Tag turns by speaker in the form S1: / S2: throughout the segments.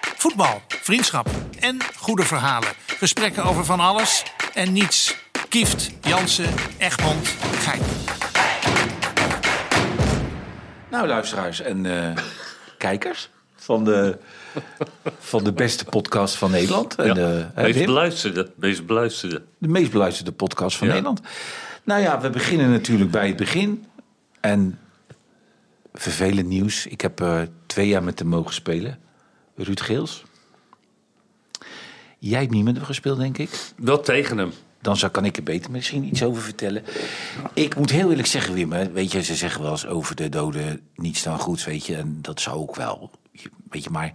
S1: Voetbal, vriendschap en goede verhalen. Gesprekken over van alles en niets. Kieft, Jansen, Egmond, Gein.
S2: Nou, luisteraars en eh, kijkers van de, van de beste podcast van Nederland. En de, hè,
S3: meest
S2: Wim?
S3: beluisterde, meest beluisterde.
S2: de meest beluisterde podcast van
S3: Ja.
S2: Nederland. Nou ja, we beginnen natuurlijk bij het begin. En vervelend nieuws. Ik heb eh, twee jaar met hem mogen spelen. Ruud Geels. Jij hebt niet met hem gespeeld, denk ik.
S3: Wel tegen hem.
S2: Dan zou, kan ik er beter misschien iets over vertellen. Ik moet heel eerlijk zeggen, Wim. hè, Weet je, ze zeggen wel eens over de doden niets dan goeds, weet je. En dat zou ook wel. je- Weet je, maar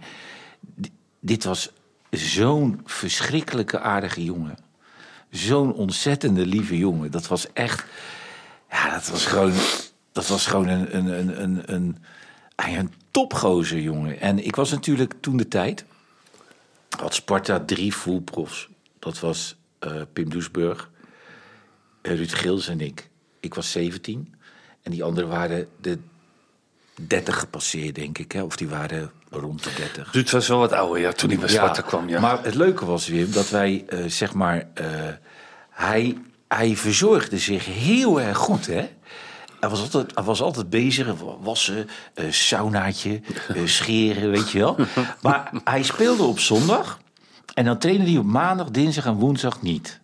S2: di- dit was zo'n verschrikkelijke aardige jongen. Zo'n ontzettende lieve jongen. Dat was echt... Ja, dat was gewoon, dat was gewoon een, een, een, een, een, een, een topgozer, jongen. En ik was natuurlijk toen de tijd had Sparta drie voelprofs. Dat was eh, Pim Doesburg, eh, Ruud Gils en ik. Ik was 17. En die anderen waren de 30 gepasseerd, denk ik. Hè? Of die waren rond de 30.
S3: Ruud was wel wat ouder, ja, toen hij bij Sparta kwam, ja.
S2: Maar het leuke was, Wim, dat wij, eh, zeg maar... eh, hij, hij verzorgde zich heel erg goed, hè? Hij was altijd, hij was altijd bezig, wassen, eh saunaatje, eh, scheren, weet je wel. Maar hij speelde op zondag en dan trainde hij op maandag, dinsdag en woensdag niet.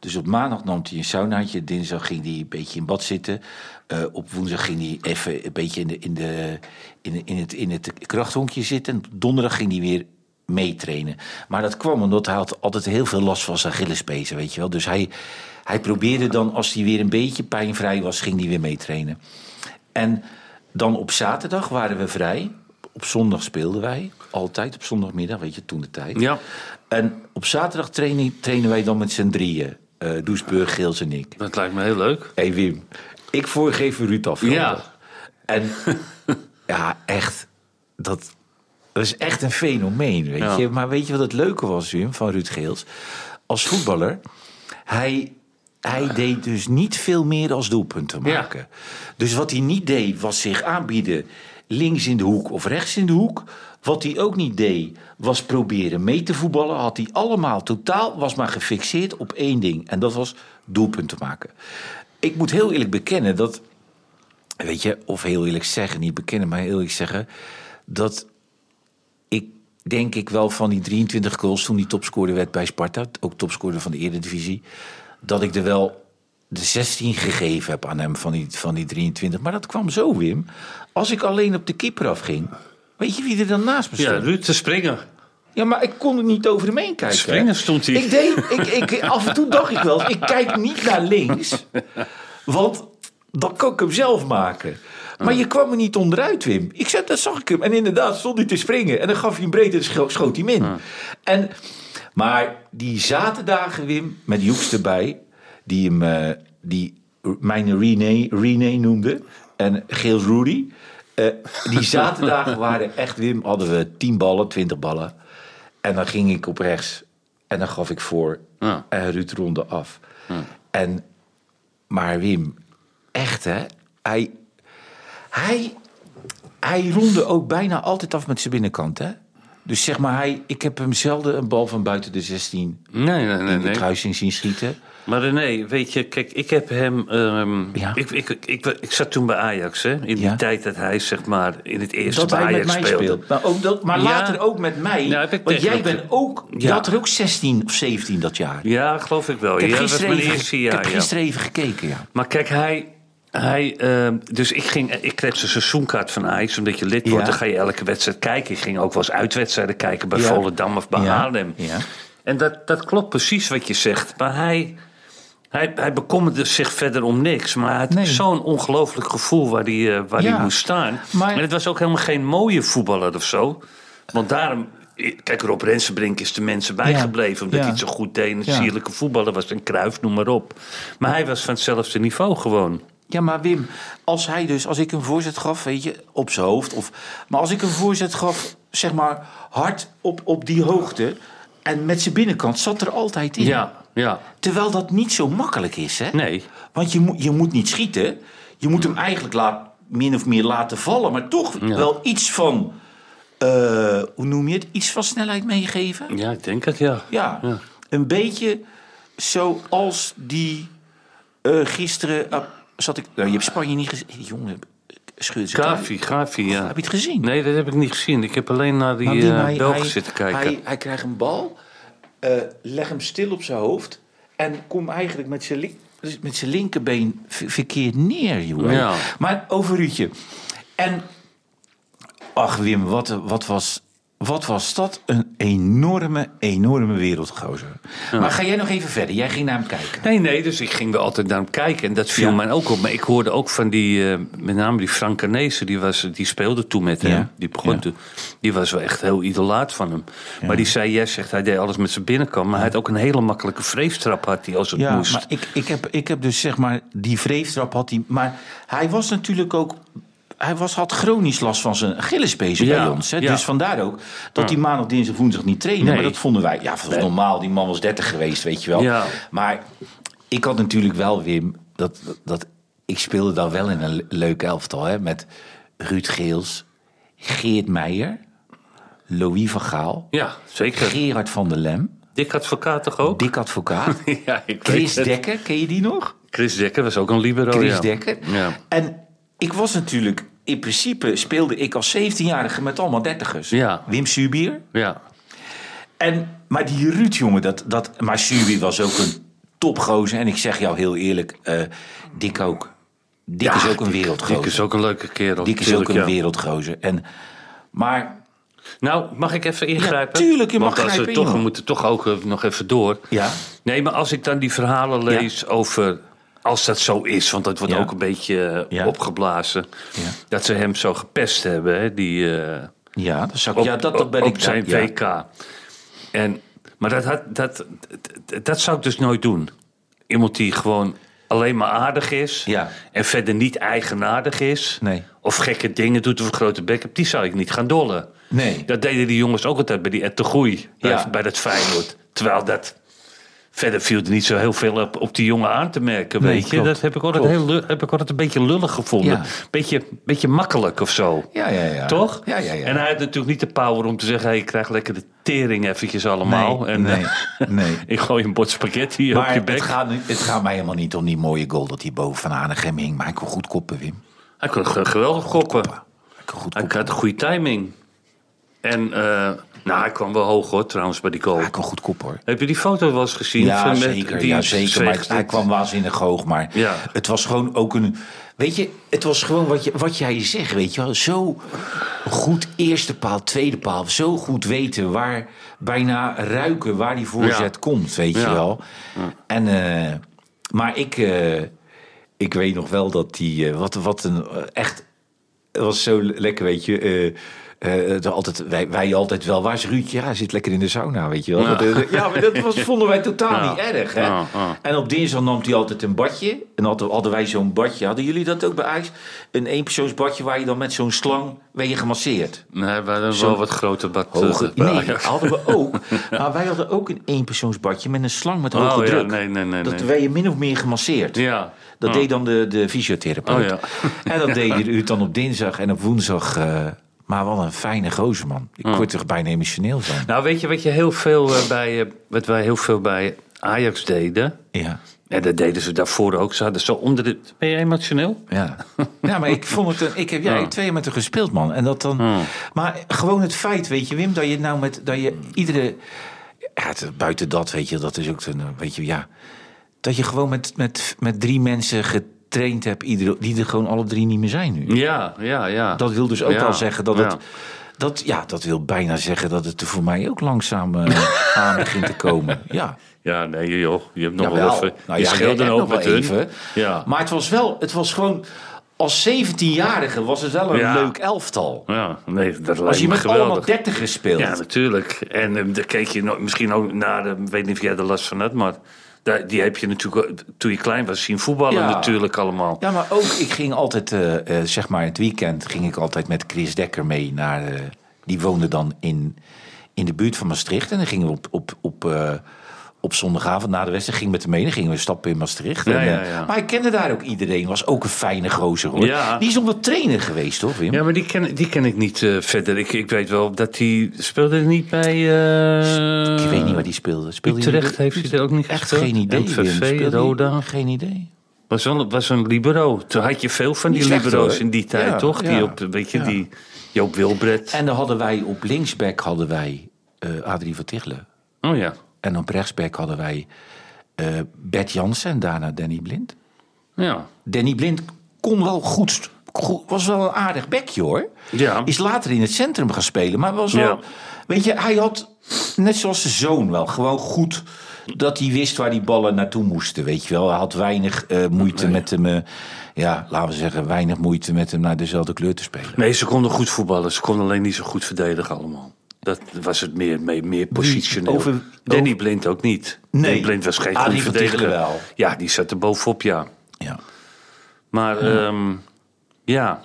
S2: Dus op maandag nam hij een saunaatje. Dinsdag ging hij een beetje in bad zitten. Eh, op woensdag ging hij even een beetje in, de, in, de, in, de- in, het, in het krachthonkje zitten. En op donderdag ging hij weer meetrainen. Maar dat kwam omdat hij had altijd heel veel last van zijn Achillespezen, weet je wel. Dus hij, hij probeerde dan, als hij weer een beetje pijnvrij was, ging hij weer meetrainen. En dan op zaterdag waren we vrij. Op zondag speelden wij. Altijd op zondagmiddag, weet je, toen de tijd.
S3: Ja.
S2: En op zaterdag trainen, trainen wij dan met z'n drieën. eh Doesburg, Geels en ik.
S3: Dat lijkt me heel leuk.
S2: Hé hey Wim, ik voor even Ruud af. jongen.
S3: Ja.
S2: En ja, echt. Dat, dat is echt een fenomeen, weet
S3: Ja.
S2: je. Maar weet je wat het leuke was, Wim, van Ruud Geels? Als voetballer, hij, hij deed dus niet veel meer als doelpunten
S3: Ja.
S2: maken. Dus wat hij niet deed, was zich aanbieden links in de hoek of rechts in de hoek. Wat hij ook niet deed, was proberen mee te voetballen. Had hij allemaal totaal, was maar gefixeerd op één ding. En dat was doelpunten maken. Ik moet heel eerlijk bekennen dat weet je, of heel eerlijk zeggen, niet bekennen, maar heel eerlijk zeggen, dat ik denk ik wel van die 23 goals toen die topscorer werd bij Sparta, ook topscorer van de Eredivisie, dat ik er wel de 16 gegeven heb aan hem van die, van die 23. Maar dat kwam zo, Wim. Als ik alleen op de keeper afging, weet je wie er dan naast me
S3: Ja,
S2: stond?
S3: Ruud te springen.
S2: Ja, maar ik kon er niet over hem heen kijken.
S3: Springen stond hij.
S2: Ik deed, ik, ik, af en toe dacht ik wel, ik kijk niet naar links. Want dan kan ik hem zelf maken. Maar je kwam er niet onderuit, Wim. Ik zat, dat zag ik hem. En inderdaad stond hij te springen. En dan gaf hij een breedte en scho- schoot hij
S3: Ah.
S2: hem in. En, maar die zaterdagen, Wim, met Joeks erbij... die hem eh, die mijn René, René noemde... en Geels Rudy... eh, die zaterdagen waren echt, Wim, hadden we 10 ballen, 20 ballen. En dan ging ik op rechts. En dan gaf ik voor.
S3: Ja.
S2: En Ruud ronde af. En maar Wim, echt hè? Hij, hij, hij ronde ook bijna altijd af met zijn binnenkant hè? Dus zeg maar, hij, ik heb hem zelden een bal van buiten de 16
S3: Nee, nee, nee.
S2: in de
S3: nee.
S2: kruising zien schieten.
S3: Maar René, weet je, kijk, ik heb hem. ehm,
S2: Ja.
S3: ik, ik, ik, ik, ik zat toen bij Ajax, hè? In die
S2: Ja.
S3: tijd dat hij, zeg maar, in het eerste
S2: Dat
S3: bij
S2: hij met
S3: Ajax
S2: mij
S3: speelde.
S2: speelt. Maar, ook dat, maar
S3: Ja.
S2: later ook met mij.
S3: Ja, heb ik
S2: want jij
S3: tegen-
S2: bent ook, je
S3: Ja.
S2: had er ook 16 of 17 dat jaar.
S3: Ja, geloof ik wel.
S2: Ik
S3: ja,
S2: heb
S3: dat was
S2: gisteren,
S3: mijn
S2: even,
S3: eerste
S2: ik
S3: jaar.
S2: heb
S3: ja.
S2: gisteren even gekeken, ja.
S3: Maar kijk, hij. hij ehm, dus ik, ging, ik kreeg zijn seizoenkaart van Ajax, omdat je lid wordt.
S2: Ja.
S3: Dan ga je elke wedstrijd kijken. Ik ging ook wel eens uitwedstrijden kijken bij
S2: Ja.
S3: Volendam of bij
S2: Ja.
S3: Haarlem.
S2: Ja.
S3: En dat, dat klopt precies wat je zegt. Maar hij, hij, hij bekommerde zich verder om niks. Maar hij had
S2: Nee.
S3: zo'n ongelooflijk gevoel waar hij, eh, waar
S2: Ja.
S3: hij moest staan.
S2: Maar-
S3: En het was ook helemaal geen mooie voetballer of zo. Want daarom... Kijk, Rob Rensenbrink is de mensen bijgebleven... omdat
S2: Ja.
S3: hij het zo goed deed en een
S2: Ja.
S3: sierlijke voetballer was. En Kruif, noem maar op. Maar hij was van hetzelfde niveau gewoon.
S2: Ja, maar Wim, als hij dus, als ik een voorzet gaf, weet je, op zijn hoofd. Of, maar als ik een voorzet gaf, zeg maar, hard op, op die hoogte. En met zijn binnenkant zat er altijd in.
S3: Ja, ja.
S2: Terwijl dat niet zo makkelijk is, hè?
S3: Nee.
S2: Want je, moet je moet niet schieten. Je moet hem eigenlijk laat, min of meer laten vallen. Maar toch wel iets van eh, hoe noem je het, iets van snelheid meegeven.
S3: Ja, ik denk het, ja.
S2: Ja, een beetje zoals die eh, gisteren ah, zat ik. Nou, je hebt Spanje niet gezien. Die jongen scheurde zich.
S3: Gavi, Gavi, ja.
S2: uit. Heb je het gezien?
S3: Nee, dat heb ik niet gezien. Ik heb alleen naar die,
S2: Nou,
S3: eh
S2: hij-
S3: Belgen
S2: hij-
S3: zitten kijken.
S2: Hij, hij krijgt een bal, eh, leg hem stil op zijn hoofd en kom eigenlijk met zijn, link- dus met zijn linkerbeen ver- verkeerd neer, joh.
S3: Ja.
S2: Maar over Ruudje. En ach Wim, wat, wat, was, wat was dat een enorme, enorme wereldgozer. Maar ga jij nog even verder? Jij ging naar hem kijken.
S3: Nee, nee, dus ik ging er altijd naar hem kijken. En dat viel
S2: Ja.
S3: mij ook op. Maar ik hoorde ook van die, eh, met name die Frank Canese, die, was, die speelde toen met hem.
S2: Ja.
S3: Die, begon
S2: Ja.
S3: toen, die was wel echt heel idolaat van hem. Maar die zei, jij zegt, hij deed alles met zijn binnenkant. Maar hij had ook een hele makkelijke vreeftrap, had hij als het
S2: Ja,
S3: moest.
S2: maar ik, ik, heb, ik heb dus zeg maar die vreeftrap had hij. Maar hij was natuurlijk ook. Hij was, had chronisch last van zijn Achillespezen
S3: Ja,
S2: bij ons. Hè?
S3: ja.
S2: Dus vandaar ook dat hij maandag, dinsdag, woensdag niet trainde.
S3: Nee.
S2: Maar dat vonden wij. Ja, dat was normaal. Die man was 30 geweest, weet je wel.
S3: Ja.
S2: Maar ik had natuurlijk wel, Wim, dat, dat, dat- ik speelde dan wel in een le- leuk elftal. Hè? Met Ruud Geels, Geert Meijer, Louis van Gaal,
S3: Ja, zeker.
S2: Gerard van der Lem,
S3: Dick advocaat toch ook?
S2: Dick Advocaat,
S3: Ja, ik
S2: Chris
S3: weet het.
S2: Dekker, ken je die nog?
S3: Chris Dekker was ook een libero,
S2: Chris
S3: ja.
S2: Dekker.
S3: Ja.
S2: En ik was natuurlijk, in principe speelde ik als 17-jarige met allemaal dertigers.
S3: Ja.
S2: Wim Subier.
S3: Ja.
S2: En, maar die Ruud, jongen, dat, dat, maar Subier was ook een topgozer. En ik zeg jou heel eerlijk, eh Dick ook. Dick is ook een wereldgozer.
S3: Dick is ook een leuke kerel.
S2: Dick is ook
S3: tuurlijk,
S2: een
S3: ja.
S2: wereldgozer. En, maar
S3: Nou, mag ik even ingrijpen?
S2: Ja, tuurlijk, je mag
S3: Want als we,
S2: grijpen in,
S3: toch, we
S2: man.
S3: moeten toch ook eh, nog even door.
S2: Ja.
S3: Nee, maar als ik dan die verhalen lees over... Als dat zo is, want dat wordt
S2: Ja.
S3: ook een beetje eh,
S2: Ja.
S3: opgeblazen.
S2: Ja.
S3: Dat ze hem zo gepest hebben, hè, die... eh,
S2: ja, dat zou ik,
S3: op,
S2: ja, dat, dat ben
S3: op
S2: ik
S3: zijn
S2: ja.
S3: WK. En, maar dat, had, dat, dat, dat zou ik dus nooit doen. Iemand die gewoon alleen maar aardig is.
S2: Ja.
S3: En verder niet eigenaardig is.
S2: Nee.
S3: Of gekke dingen doet of een grote bek hebt. Die zou ik niet gaan dollen.
S2: Nee.
S3: Dat deden die jongens ook altijd bij die Ed de Groei. Bij,
S2: Ja.
S3: bij dat Feyenoord. Terwijl dat... Verder viel er niet zo heel veel op, op die jongen aan te merken,
S2: Nee,
S3: weet je.
S2: klopt.
S3: Dat heb ik, altijd
S2: Klopt.
S3: heel, lu- heb ik altijd een beetje lullig gevonden.
S2: Ja.
S3: Beetje, beetje makkelijk of zo.
S2: Ja, ja, ja.
S3: Toch?
S2: Ja, ja, ja.
S3: En hij had natuurlijk niet de power om te zeggen: hey, je krijgt lekker de tering eventjes allemaal.
S2: Nee,
S3: en,
S2: nee,
S3: eh,
S2: nee.
S3: ik gooi een bord spaghetti op
S2: maar
S3: je
S2: het
S3: bek.
S2: gaat, nu- het gaat mij helemaal niet om die mooie goal dat hij boven Van Aanegem hing. Maar ik wil goed koppen, Wim.
S3: Hij kon ge- geweldig koppen.
S2: Ik wil goed
S3: Hij
S2: koppen.
S3: had een goede timing. En eh, nou, hij kwam wel hoog hoor, trouwens, bij die goal.
S2: Hij kon goed koppen, hoor.
S3: Heb je die foto wel eens gezien?
S2: Ja,
S3: Van met
S2: zeker.
S3: die
S2: ja, zeker. Maar
S3: zweeg-
S2: hij kwam waanzinnig hoog. Maar
S3: Ja.
S2: het was gewoon ook een. Weet je, het was gewoon wat, je, wat jij zegt. Weet je wel, zo goed eerste paal, tweede paal. Zo goed weten waar, bijna ruiken waar die voorzet
S3: Ja.
S2: komt. Weet
S3: Ja.
S2: je wel. En, eh, maar ik, eh, ik weet nog wel dat die. eh, wat, wat een. eh, echt. Het was zo le- lekker, weet je. eh, eh, het was altijd, wij, wij altijd wel, waar is Ruud? Ja, hij zit lekker in de sauna, weet je wel. Dat, eh, Ja, maar dat was, vonden wij totaal
S3: Ja.
S2: niet erg, hè?
S3: Ja, ja.
S2: En op dinsdag nam hij altijd een badje. En hadden, hadden wij zo'n badje. Hadden jullie dat ook bij IJs? Een eenpersoonsbadje waar je dan met zo'n slang... ben je gemasseerd.
S3: Nee, we hadden wel
S2: Zo'n
S3: wat groter bad. eh,
S2: Hoge,
S3: bij
S2: nee,
S3: Ajax.
S2: hadden we ook. Maar wij hadden ook een eenpersoonsbadje met een slang met
S3: Oh,
S2: hoge
S3: ja,
S2: druk.
S3: nee, nee, nee,
S2: dat
S3: nee.
S2: werd je min of meer gemasseerd.
S3: Ja.
S2: Dat
S3: Oh.
S2: deed dan de, de fysiotherapeut.
S3: Oh,
S2: En dat deed u het dan op dinsdag en op woensdag. eh, maar wat een fijne gozer, man. Ik
S3: Oh.
S2: word er bijna emotioneel van.
S3: Nou, weet je wat je heel veel eh, bij, eh, wat wij heel veel bij Ajax deden?
S2: Ja.
S3: En dat deden ze daarvoor ook. Ze hadden zo onder de... Ben je emotioneel?
S2: Ja. ja, maar ik vond het. een- Ik heb jij
S3: Ja.
S2: twee met hem gespeeld, man. En dat dan.
S3: Oh.
S2: Maar gewoon het feit, weet je, Wim, dat je nou met dat je iedere. Ja, het- buiten dat, weet je, dat is ook een. eh, Weet je, ja. Dat je gewoon met, met, met drie mensen getraind hebt, iedere, die er gewoon alle drie niet meer zijn nu.
S3: Ja, ja, ja.
S2: Dat wil dus ook
S3: Ja,
S2: al zeggen dat
S3: ja.
S2: het. Dat, ja, dat wil bijna zeggen dat het er voor mij ook langzaam eh, aan begint te komen. Ja.
S3: Ja, nee joh, je hebt nog wel
S2: Jawel.
S3: even...
S2: Nou
S3: je
S2: ja, jij
S3: scheelde
S2: hebt
S3: ook
S2: nog wel
S3: met hun.
S2: even.
S3: Ja.
S2: Maar het was wel, het was gewoon. Als 17-jarige was het wel een
S3: Ja.
S2: leuk elftal.
S3: ja, nee, dat
S2: Als
S3: lijkt
S2: je
S3: me
S2: met allemaal
S3: geweldig.
S2: 30 gespeeld.
S3: Ja, natuurlijk. En ehm, daar keek je nog, misschien ook naar... Ik weet niet of jij er last van had, maar... daar- die heb je natuurlijk ook toen je klein was zien voetballen
S2: Ja.
S3: natuurlijk allemaal.
S2: Ja, maar ook, ik ging altijd, eh, eh, zeg maar, het weekend ging ik altijd met Chris Dekker mee naar. eh, die woonde dan in, in de buurt van Maastricht. En dan gingen we op, op, op eh, op zondagavond na de wedstrijd ging met de mening, gingen we stappen in Maastricht.
S3: Ja,
S2: En, eh,
S3: ja, ja.
S2: Maar hij kende daar ook iedereen, was ook een fijne gozer hoor.
S3: Ja.
S2: Die is nog wel trainer geweest hoor Wim?
S3: Ja, maar die ken, die ken ik niet eh, verder. Ik, ik weet wel dat hij speelde hij niet bij. eh,
S2: Ik weet niet waar die speelde. speelde hij
S3: Utrecht
S2: bij-
S3: heeft hij er ook niet
S2: Echt
S3: gespeeld?
S2: geen idee. Wim.
S3: MVV,
S2: Speelde hij-
S3: Roda.
S2: Geen idee.
S3: Was wel was een libero. Toen had je veel van die
S2: Niet slecht,
S3: libero's
S2: hoor.
S3: in die tijd,
S2: Ja,
S3: toch?
S2: ja.
S3: Die op, weet je,
S2: Ja.
S3: die Joop Wilbred.
S2: En dan hadden wij op linksback hadden wij eh Adrie van Tichelen.
S3: Oh ja.
S2: En op rechtsback hadden wij eh, Bert Jansen en daarna Danny Blind.
S3: Ja.
S2: Danny Blind kon wel goed, st- goed- was wel een aardig bekje hoor.
S3: Ja.
S2: Is later in het centrum gaan spelen, maar was wel,
S3: Ja.
S2: weet je, hij had net zoals zijn zoon wel gewoon goed dat hij wist waar die ballen naartoe moesten, weet je wel. Hij had weinig eh, moeite met hem, eh, ja, laten we zeggen, weinig moeite met hem naar dezelfde kleur te spelen.
S3: Nee, ze konden goed voetballen. Ze konden alleen niet zo goed verdedigen allemaal. Dat was het meer, meer, meer positioneel.
S2: over-
S3: Danny
S2: over-
S3: Blind ook niet.
S2: Nee.
S3: Danny Blind was geen
S2: Ah,
S3: goed
S2: die van
S3: verdediger.
S2: Tichelen wel.
S3: Ja, die zat er bovenop, ja.
S2: Ja.
S3: Maar ehm, ja.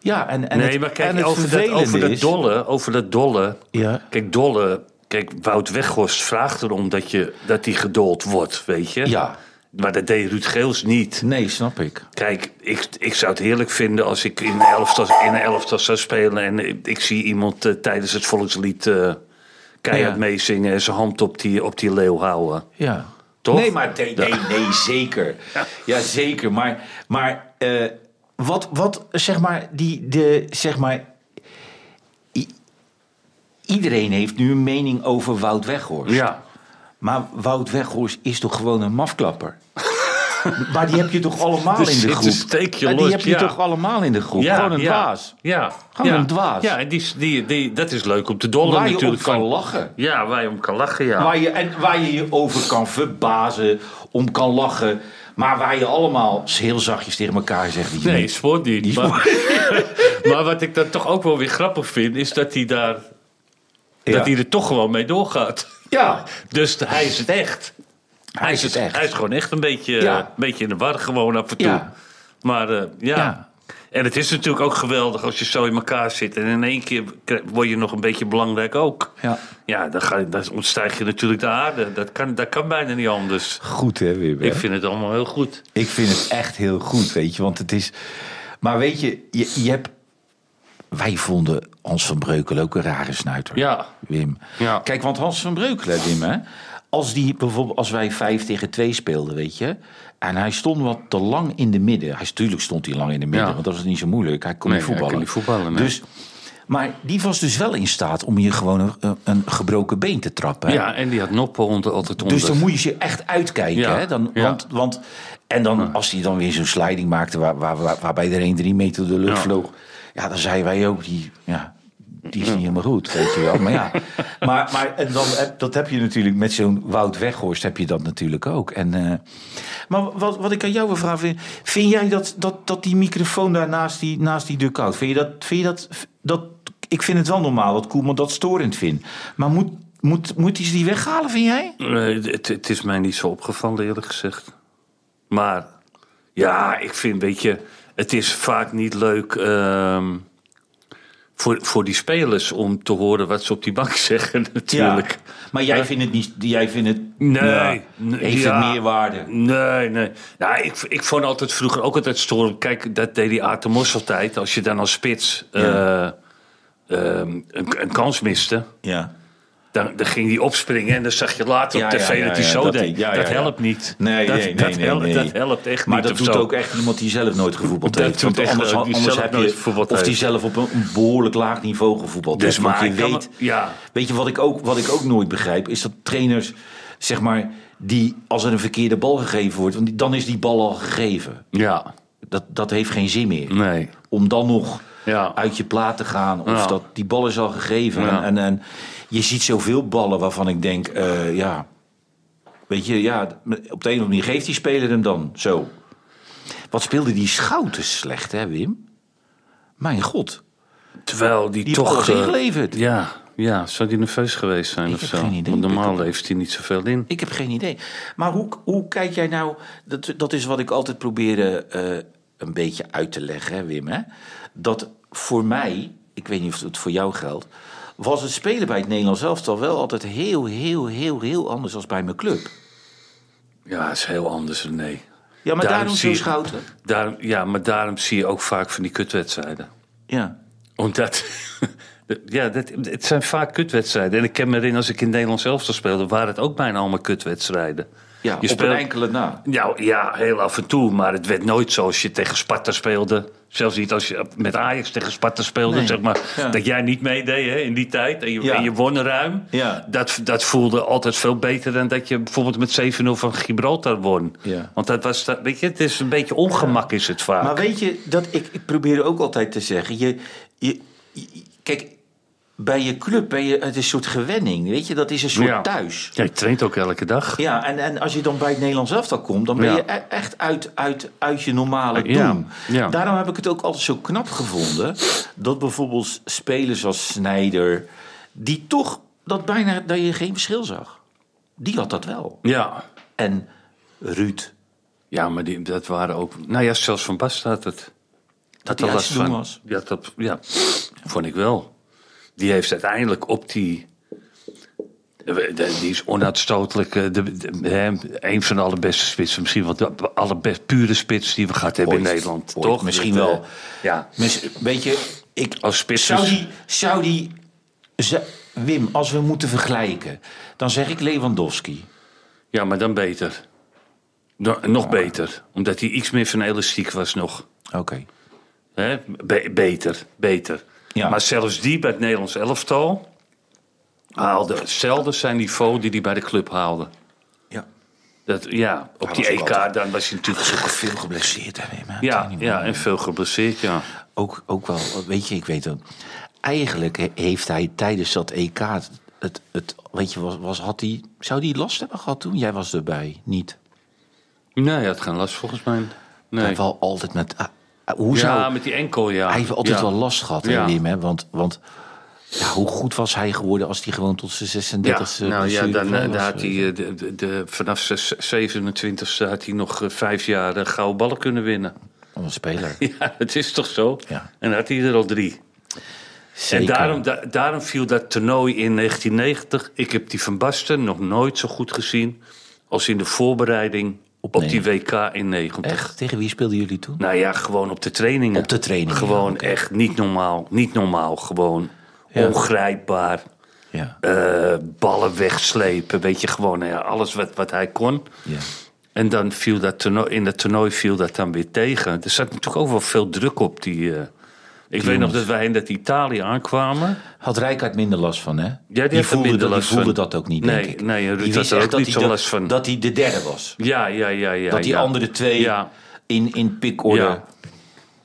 S2: Ja, en, en
S3: nee,
S2: het,
S3: maar kijk,
S2: en het
S3: over, dat,
S2: vervelende
S3: over dat
S2: is-
S3: dolle, over dat dolle.
S2: Ja.
S3: Kijk, dolle. Kijk, Wout Weghorst vraagt erom dat je dat die gedold wordt, weet je?
S2: Ja.
S3: Maar dat deed Ruud Geels niet.
S2: Nee, snap ik.
S3: Kijk, ik, ik zou het heerlijk vinden als ik in een elftal, in een elftal zou spelen en ik, ik zie iemand eh, tijdens het volkslied eh keihard
S2: Ja.
S3: meezingen en zijn hand op die, op die leeuw houden.
S2: Ja.
S3: Toch?
S2: Nee, maar nee, nee, nee, zeker. Ja, zeker. Maar, maar eh, wat, wat, zeg maar, die, de, zeg maar... i- iedereen heeft nu een mening over Wout Weghorst.
S3: Ja.
S2: Maar Wout Weghorst is toch gewoon een mafklapper? maar die heb je toch allemaal
S3: Er
S2: in
S3: zit
S2: de
S3: een
S2: groep?
S3: steekje
S2: Eh, die
S3: los,
S2: heb je
S3: ja.
S2: toch allemaal in de groep? gewoon een
S3: ja,
S2: dwaas.
S3: Ja.
S2: Gewoon
S3: ja.
S2: een dwaas.
S3: Ja, en die, die, die, dat is leuk om te dollen
S2: Waar je op
S3: natuurlijk.
S2: kan
S3: van-
S2: lachen.
S3: Ja, waar je om kan lachen, ja.
S2: Waar je, en waar je je over kan verbazen, om kan lachen. Maar waar je allemaal heel zachtjes tegen elkaar zegt. dat je
S3: Nee,
S2: niet-
S3: sport niet. Maar, maar wat ik dan toch ook wel weer grappig vind, is dat hij daar...
S2: Ja.
S3: Dat hij er toch gewoon mee doorgaat.
S2: Ja,
S3: Dus hij is het echt.
S2: hij is het echt.
S3: Hij is gewoon echt een beetje,
S2: Ja.
S3: een beetje in de war, gewoon af en toe.
S2: Ja.
S3: Maar eh, ja.
S2: Ja.
S3: En het is natuurlijk ook geweldig als je zo in elkaar zit. En in één keer kri- word je nog een beetje belangrijk ook.
S2: Ja.
S3: Ja, dan, ga, je- dan ontstijg je natuurlijk de aarde. Dat kan, dat kan bijna niet anders.
S2: Goed hè, Wim? hè?
S3: Ik vind het allemaal heel goed.
S2: Ik vind het echt heel goed, weet je. Want het is... Maar weet je, je, je hebt... Wij vonden Hans van Breukelen ook een rare snuiter.
S3: Ja.
S2: Wim.
S3: Ja.
S2: Kijk, want Hans van Breukelen, Wim, hè. Als, die, bijvoorbeeld, als wij vijf tegen twee speelden, weet je. En hij stond wat te lang in de midden. Hij, tuurlijk stond hij lang in de midden,
S3: Ja.
S2: want dat was niet zo moeilijk. Hij kon
S3: Nee,
S2: niet
S3: hij
S2: voetballen.
S3: kon niet voetballen, nee.
S2: dus, maar die was dus wel in staat om je gewoon een- een, een gebroken been te trappen. hè.
S3: Ja, en die had noppen onder, altijd onder.
S2: Dus dan moet je je echt uitkijken.
S3: Ja,
S2: Hè? Dan,
S3: ja.
S2: want, want, en dan, als hij dan weer zo'n sliding maakte... Waar, waar, waar- waarbij er een drie meter de lucht
S3: Ja.
S2: vloog... Ja, dan zeiden wij ook... Die, ja, die is niet helemaal goed, weet je wel. Maar ja, maar, maar en dan, heb- dat heb je natuurlijk met zo'n Wout Weghorst... heb je dat natuurlijk ook. En, eh, maar wat, wat ik aan jou wil vragen... Vind, vind jij dat, dat, dat die microfoon daar naast die, naast die dugout... Vind je dat... Vind je dat, dat ik vind het wel normaal dat Koeman dat storend vindt. Maar moet, moet, moet hij ze die weghalen, vind jij?
S3: Nee, het, het is mij niet zo opgevallen, eerlijk gezegd. Maar ja, ik vind, weet je, het is vaak niet leuk ehm, voor, voor die spelers om te horen wat ze op die bank zeggen, natuurlijk.
S2: Ja. Maar jij vindt het niet. Jij vindt het.
S3: Nee,
S2: Ja,
S3: nee,
S2: heeft
S3: ja.
S2: het meerwaarde.
S3: Nee, nee. Nou, ik, ik vond altijd vroeger ook altijd storend. Kijk, dat deed die Aad de Mos altijd. Als je dan als spits eh, ehm, een, een kans miste,
S2: Ja.
S3: dan, dan ging hij opspringen en dan zag je later op
S2: Ja,
S3: tv
S2: ja, ja,
S3: dat hij
S2: ja,
S3: zo
S2: dat
S3: deed.
S2: hij- ja,
S3: dat
S2: ja, ja.
S3: helpt niet.
S2: Nee,
S3: dat,
S2: nee, nee,
S3: dat,
S2: nee,
S3: helpt,
S2: nee.
S3: dat helpt echt
S2: maar
S3: niet.
S2: dat
S3: of
S2: doet
S3: zo.
S2: ook echt iemand die zelf nooit gevoetbald
S3: Dat
S2: heeft.
S3: doet
S2: Want
S3: echt
S2: anders,
S3: wel- die
S2: anders
S3: zelf
S2: heb
S3: nooit
S2: je.
S3: gevoetbald
S2: Of die
S3: heeft.
S2: zelf op een behoorlijk laag niveau gevoetbald
S3: Dus
S2: heeft. Want
S3: maar
S2: je
S3: ik kan-
S2: weet.
S3: ja.
S2: Weet je wat ik, ook, wat ik ook nooit begrijp? Is dat trainers, zeg maar, die als er een verkeerde bal gegeven wordt. Want die- dan is die bal al gegeven.
S3: Ja,
S2: Dat, dat heeft geen zin meer.
S3: nee.
S2: om dan nog
S3: Ja.
S2: uit je plaat te gaan. Of
S3: Ja.
S2: dat, die bal is al gegeven.
S3: Ja.
S2: En, en je ziet zoveel ballen waarvan ik denk, eh, ja. Weet je, ja, op de een of andere manier geeft die speler hem dan zo. Wat speelde die schouten slecht, hè, Wim? Mijn god.
S3: Terwijl die,
S2: Die heeft
S3: toch...
S2: alles
S3: eh,
S2: ingeleverd.
S3: ja, ja, zou die nerveus geweest zijn
S2: Ik
S3: of
S2: heb
S3: zo?
S2: geen idee.
S3: Want normaal leeft hij niet zoveel in.
S2: Ik heb geen idee. Maar hoe, hoe kijk jij nou... Dat, dat is wat ik altijd probeer eh, een beetje uit te leggen, hè, Wim. Hè? Dat voor mij, ik weet niet of het voor jou geldt... was het spelen bij het Nederlands elftal wel altijd heel, heel, heel, heel anders dan bij mijn club.
S3: Ja, is heel anders dan nee.
S2: Ja, maar daarom
S3: zie
S2: zo
S3: je-
S2: schouten.
S3: daarom- ja, maar daarom zie je ook vaak van die kutwedstrijden.
S2: Ja.
S3: Omdat. Ja, dat, het zijn vaak kutwedstrijden. En ik ken me erin, als ik in Nederland zelf speelde, waren het ook bijna allemaal kutwedstrijden.
S2: Ja, op
S3: speelt-
S2: een enkele na.
S3: Ja, ja, heel af en toe. Maar het werd nooit zoals je tegen Sparta speelde. Zelfs niet als je met Ajax tegen Sparta speelde,
S2: Nee.
S3: zeg maar.
S2: Ja.
S3: Dat jij niet meedeed hè, in die tijd. En je,
S2: Ja.
S3: en je won ruim.
S2: Ja.
S3: Dat, dat voelde altijd veel beter dan dat je bijvoorbeeld met 7-0 van Gibraltar won.
S2: Ja.
S3: Want dat was, dat- weet je, het is een beetje ongemak is het vaak.
S2: Maar weet je, dat ik, ik probeer ook altijd te zeggen. Je, je, je- kijk, bij je club ben je, het is een soort gewenning. Weet je, dat is een soort
S3: Ja.
S2: thuis.
S3: Ja, je traint ook elke dag.
S2: Ja, en, en als je dan bij het Nederlands elftal komt, dan ben
S3: Ja.
S2: je e- echt uit, uit, uit je normale doen.
S3: Ja, ja.
S2: Daarom heb ik het ook altijd zo knap gevonden dat bijvoorbeeld spelers als Snijder, die toch dat bijna dat je geen verschil zag. Die had dat wel.
S3: Ja,
S2: En Ruud,
S3: ja maar die, dat waren ook... Nou ja, zelfs Van Bas had het.
S2: dat
S3: Dat
S2: hij uit te doen was.
S3: Ja, dat, ja, vond ik wel. Die heeft uiteindelijk op die... de- Die is onuitstotelijk. eh, De, de- hè, een van de allerbeste spitsen. Misschien wel de allerbest pure spits die we gehad hebben in
S2: Ooit.
S3: Nederland.
S2: Ooit,
S3: toch?
S2: misschien
S3: Dat, eh,
S2: wel.
S3: Ja.
S2: Mis- Weet je, ik,
S3: Als spits
S2: zou
S3: is-
S2: die, zou die zou- Wim, als we moeten vergelijken, dan zeg ik Lewandowski.
S3: ja, maar dan beter. Dan- nog beter. Omdat hij iets meer van elastiek was nog.
S2: Oké.
S3: Hè? Be- beter, beter.
S2: Ja.
S3: Maar zelfs die bij het Nederlands elftal... haalde zelden zijn niveau die hij bij de club haalde.
S2: Ja.
S3: Dat, ja, op die
S2: was ook
S3: EK
S2: altijd-
S3: dan was hij natuurlijk...
S2: Toch veel geblesseerd, hè, Wim? hè?
S3: Ja,
S2: Tony Moore.
S3: ja, en veel geblesseerd, ja.
S2: Ook, ook wel, weet je, ik weet dat. Eigenlijk he- heeft hij tijdens dat EK. Het, het, het- weet je, was, was, had hij, zou hij last hebben gehad toen? Jij was erbij, niet?
S3: Nee, hij had geen last volgens mij.
S2: Hij
S3: Nee.
S2: heeft wel altijd met. ah, ah, hoe zou,
S3: Ja, met die enkel, ja.
S2: Hij heeft altijd
S3: ja.
S2: wel last gehad, hè,
S3: Ja.
S2: Wim. Hè? Want, want ja, hoe goed was hij geworden als hij gewoon tot zijn 36e
S3: Ja, nou ja,
S2: blessure
S3: dan,
S2: vrij
S3: eh,
S2: was?
S3: dan had hij eh, de, de, de- vanaf zes- 27 had hij nog eh, vijf jaar eh, gouden ballen kunnen winnen.
S2: Wat eh, een speler.
S3: Ja, het is toch zo?
S2: Ja.
S3: En had hij er al drie.
S2: Zeker.
S3: En daarom, da- daarom viel dat toernooi in 1990. Ik heb die Van Basten nog nooit zo goed gezien als in de voorbereiding op,
S2: Op
S3: die WK in 90.
S2: Echt? Tegen wie speelden jullie toen?
S3: Nou ja, gewoon op de trainingen.
S2: Op de trainingen,
S3: Gewoon
S2: oké.
S3: echt niet normaal. Niet normaal. Gewoon
S2: Ja.
S3: ongrijpbaar.
S2: Ja.
S3: eh, ballen wegslepen. Weet je, gewoon nou ja, alles wat, wat hij kon.
S2: ja.
S3: En dan viel dat toernooi, in dat toernooi viel dat dan weer tegen. Er zat natuurlijk ook wel veel druk op die... eh, ik weet nog dat wij in dat Italië aankwamen.
S2: Had Rijkaard minder last van, hè?
S3: die had er
S2: voelde,
S3: minder
S2: dat, die
S3: last
S2: voelde
S3: van.
S2: dat ook niet,
S3: Nee,
S2: denk ik.
S3: nee, en Ruud
S2: Die
S3: had
S2: wist
S3: er
S2: echt
S3: ook
S2: dat
S3: niet
S2: hij
S3: zo
S2: de-
S3: last van.
S2: Dat hij de derde was.
S3: Ja, ja, ja, ja.
S2: dat die
S3: ja.
S2: andere twee
S3: Ja.
S2: in, in pikorde...
S3: Ja.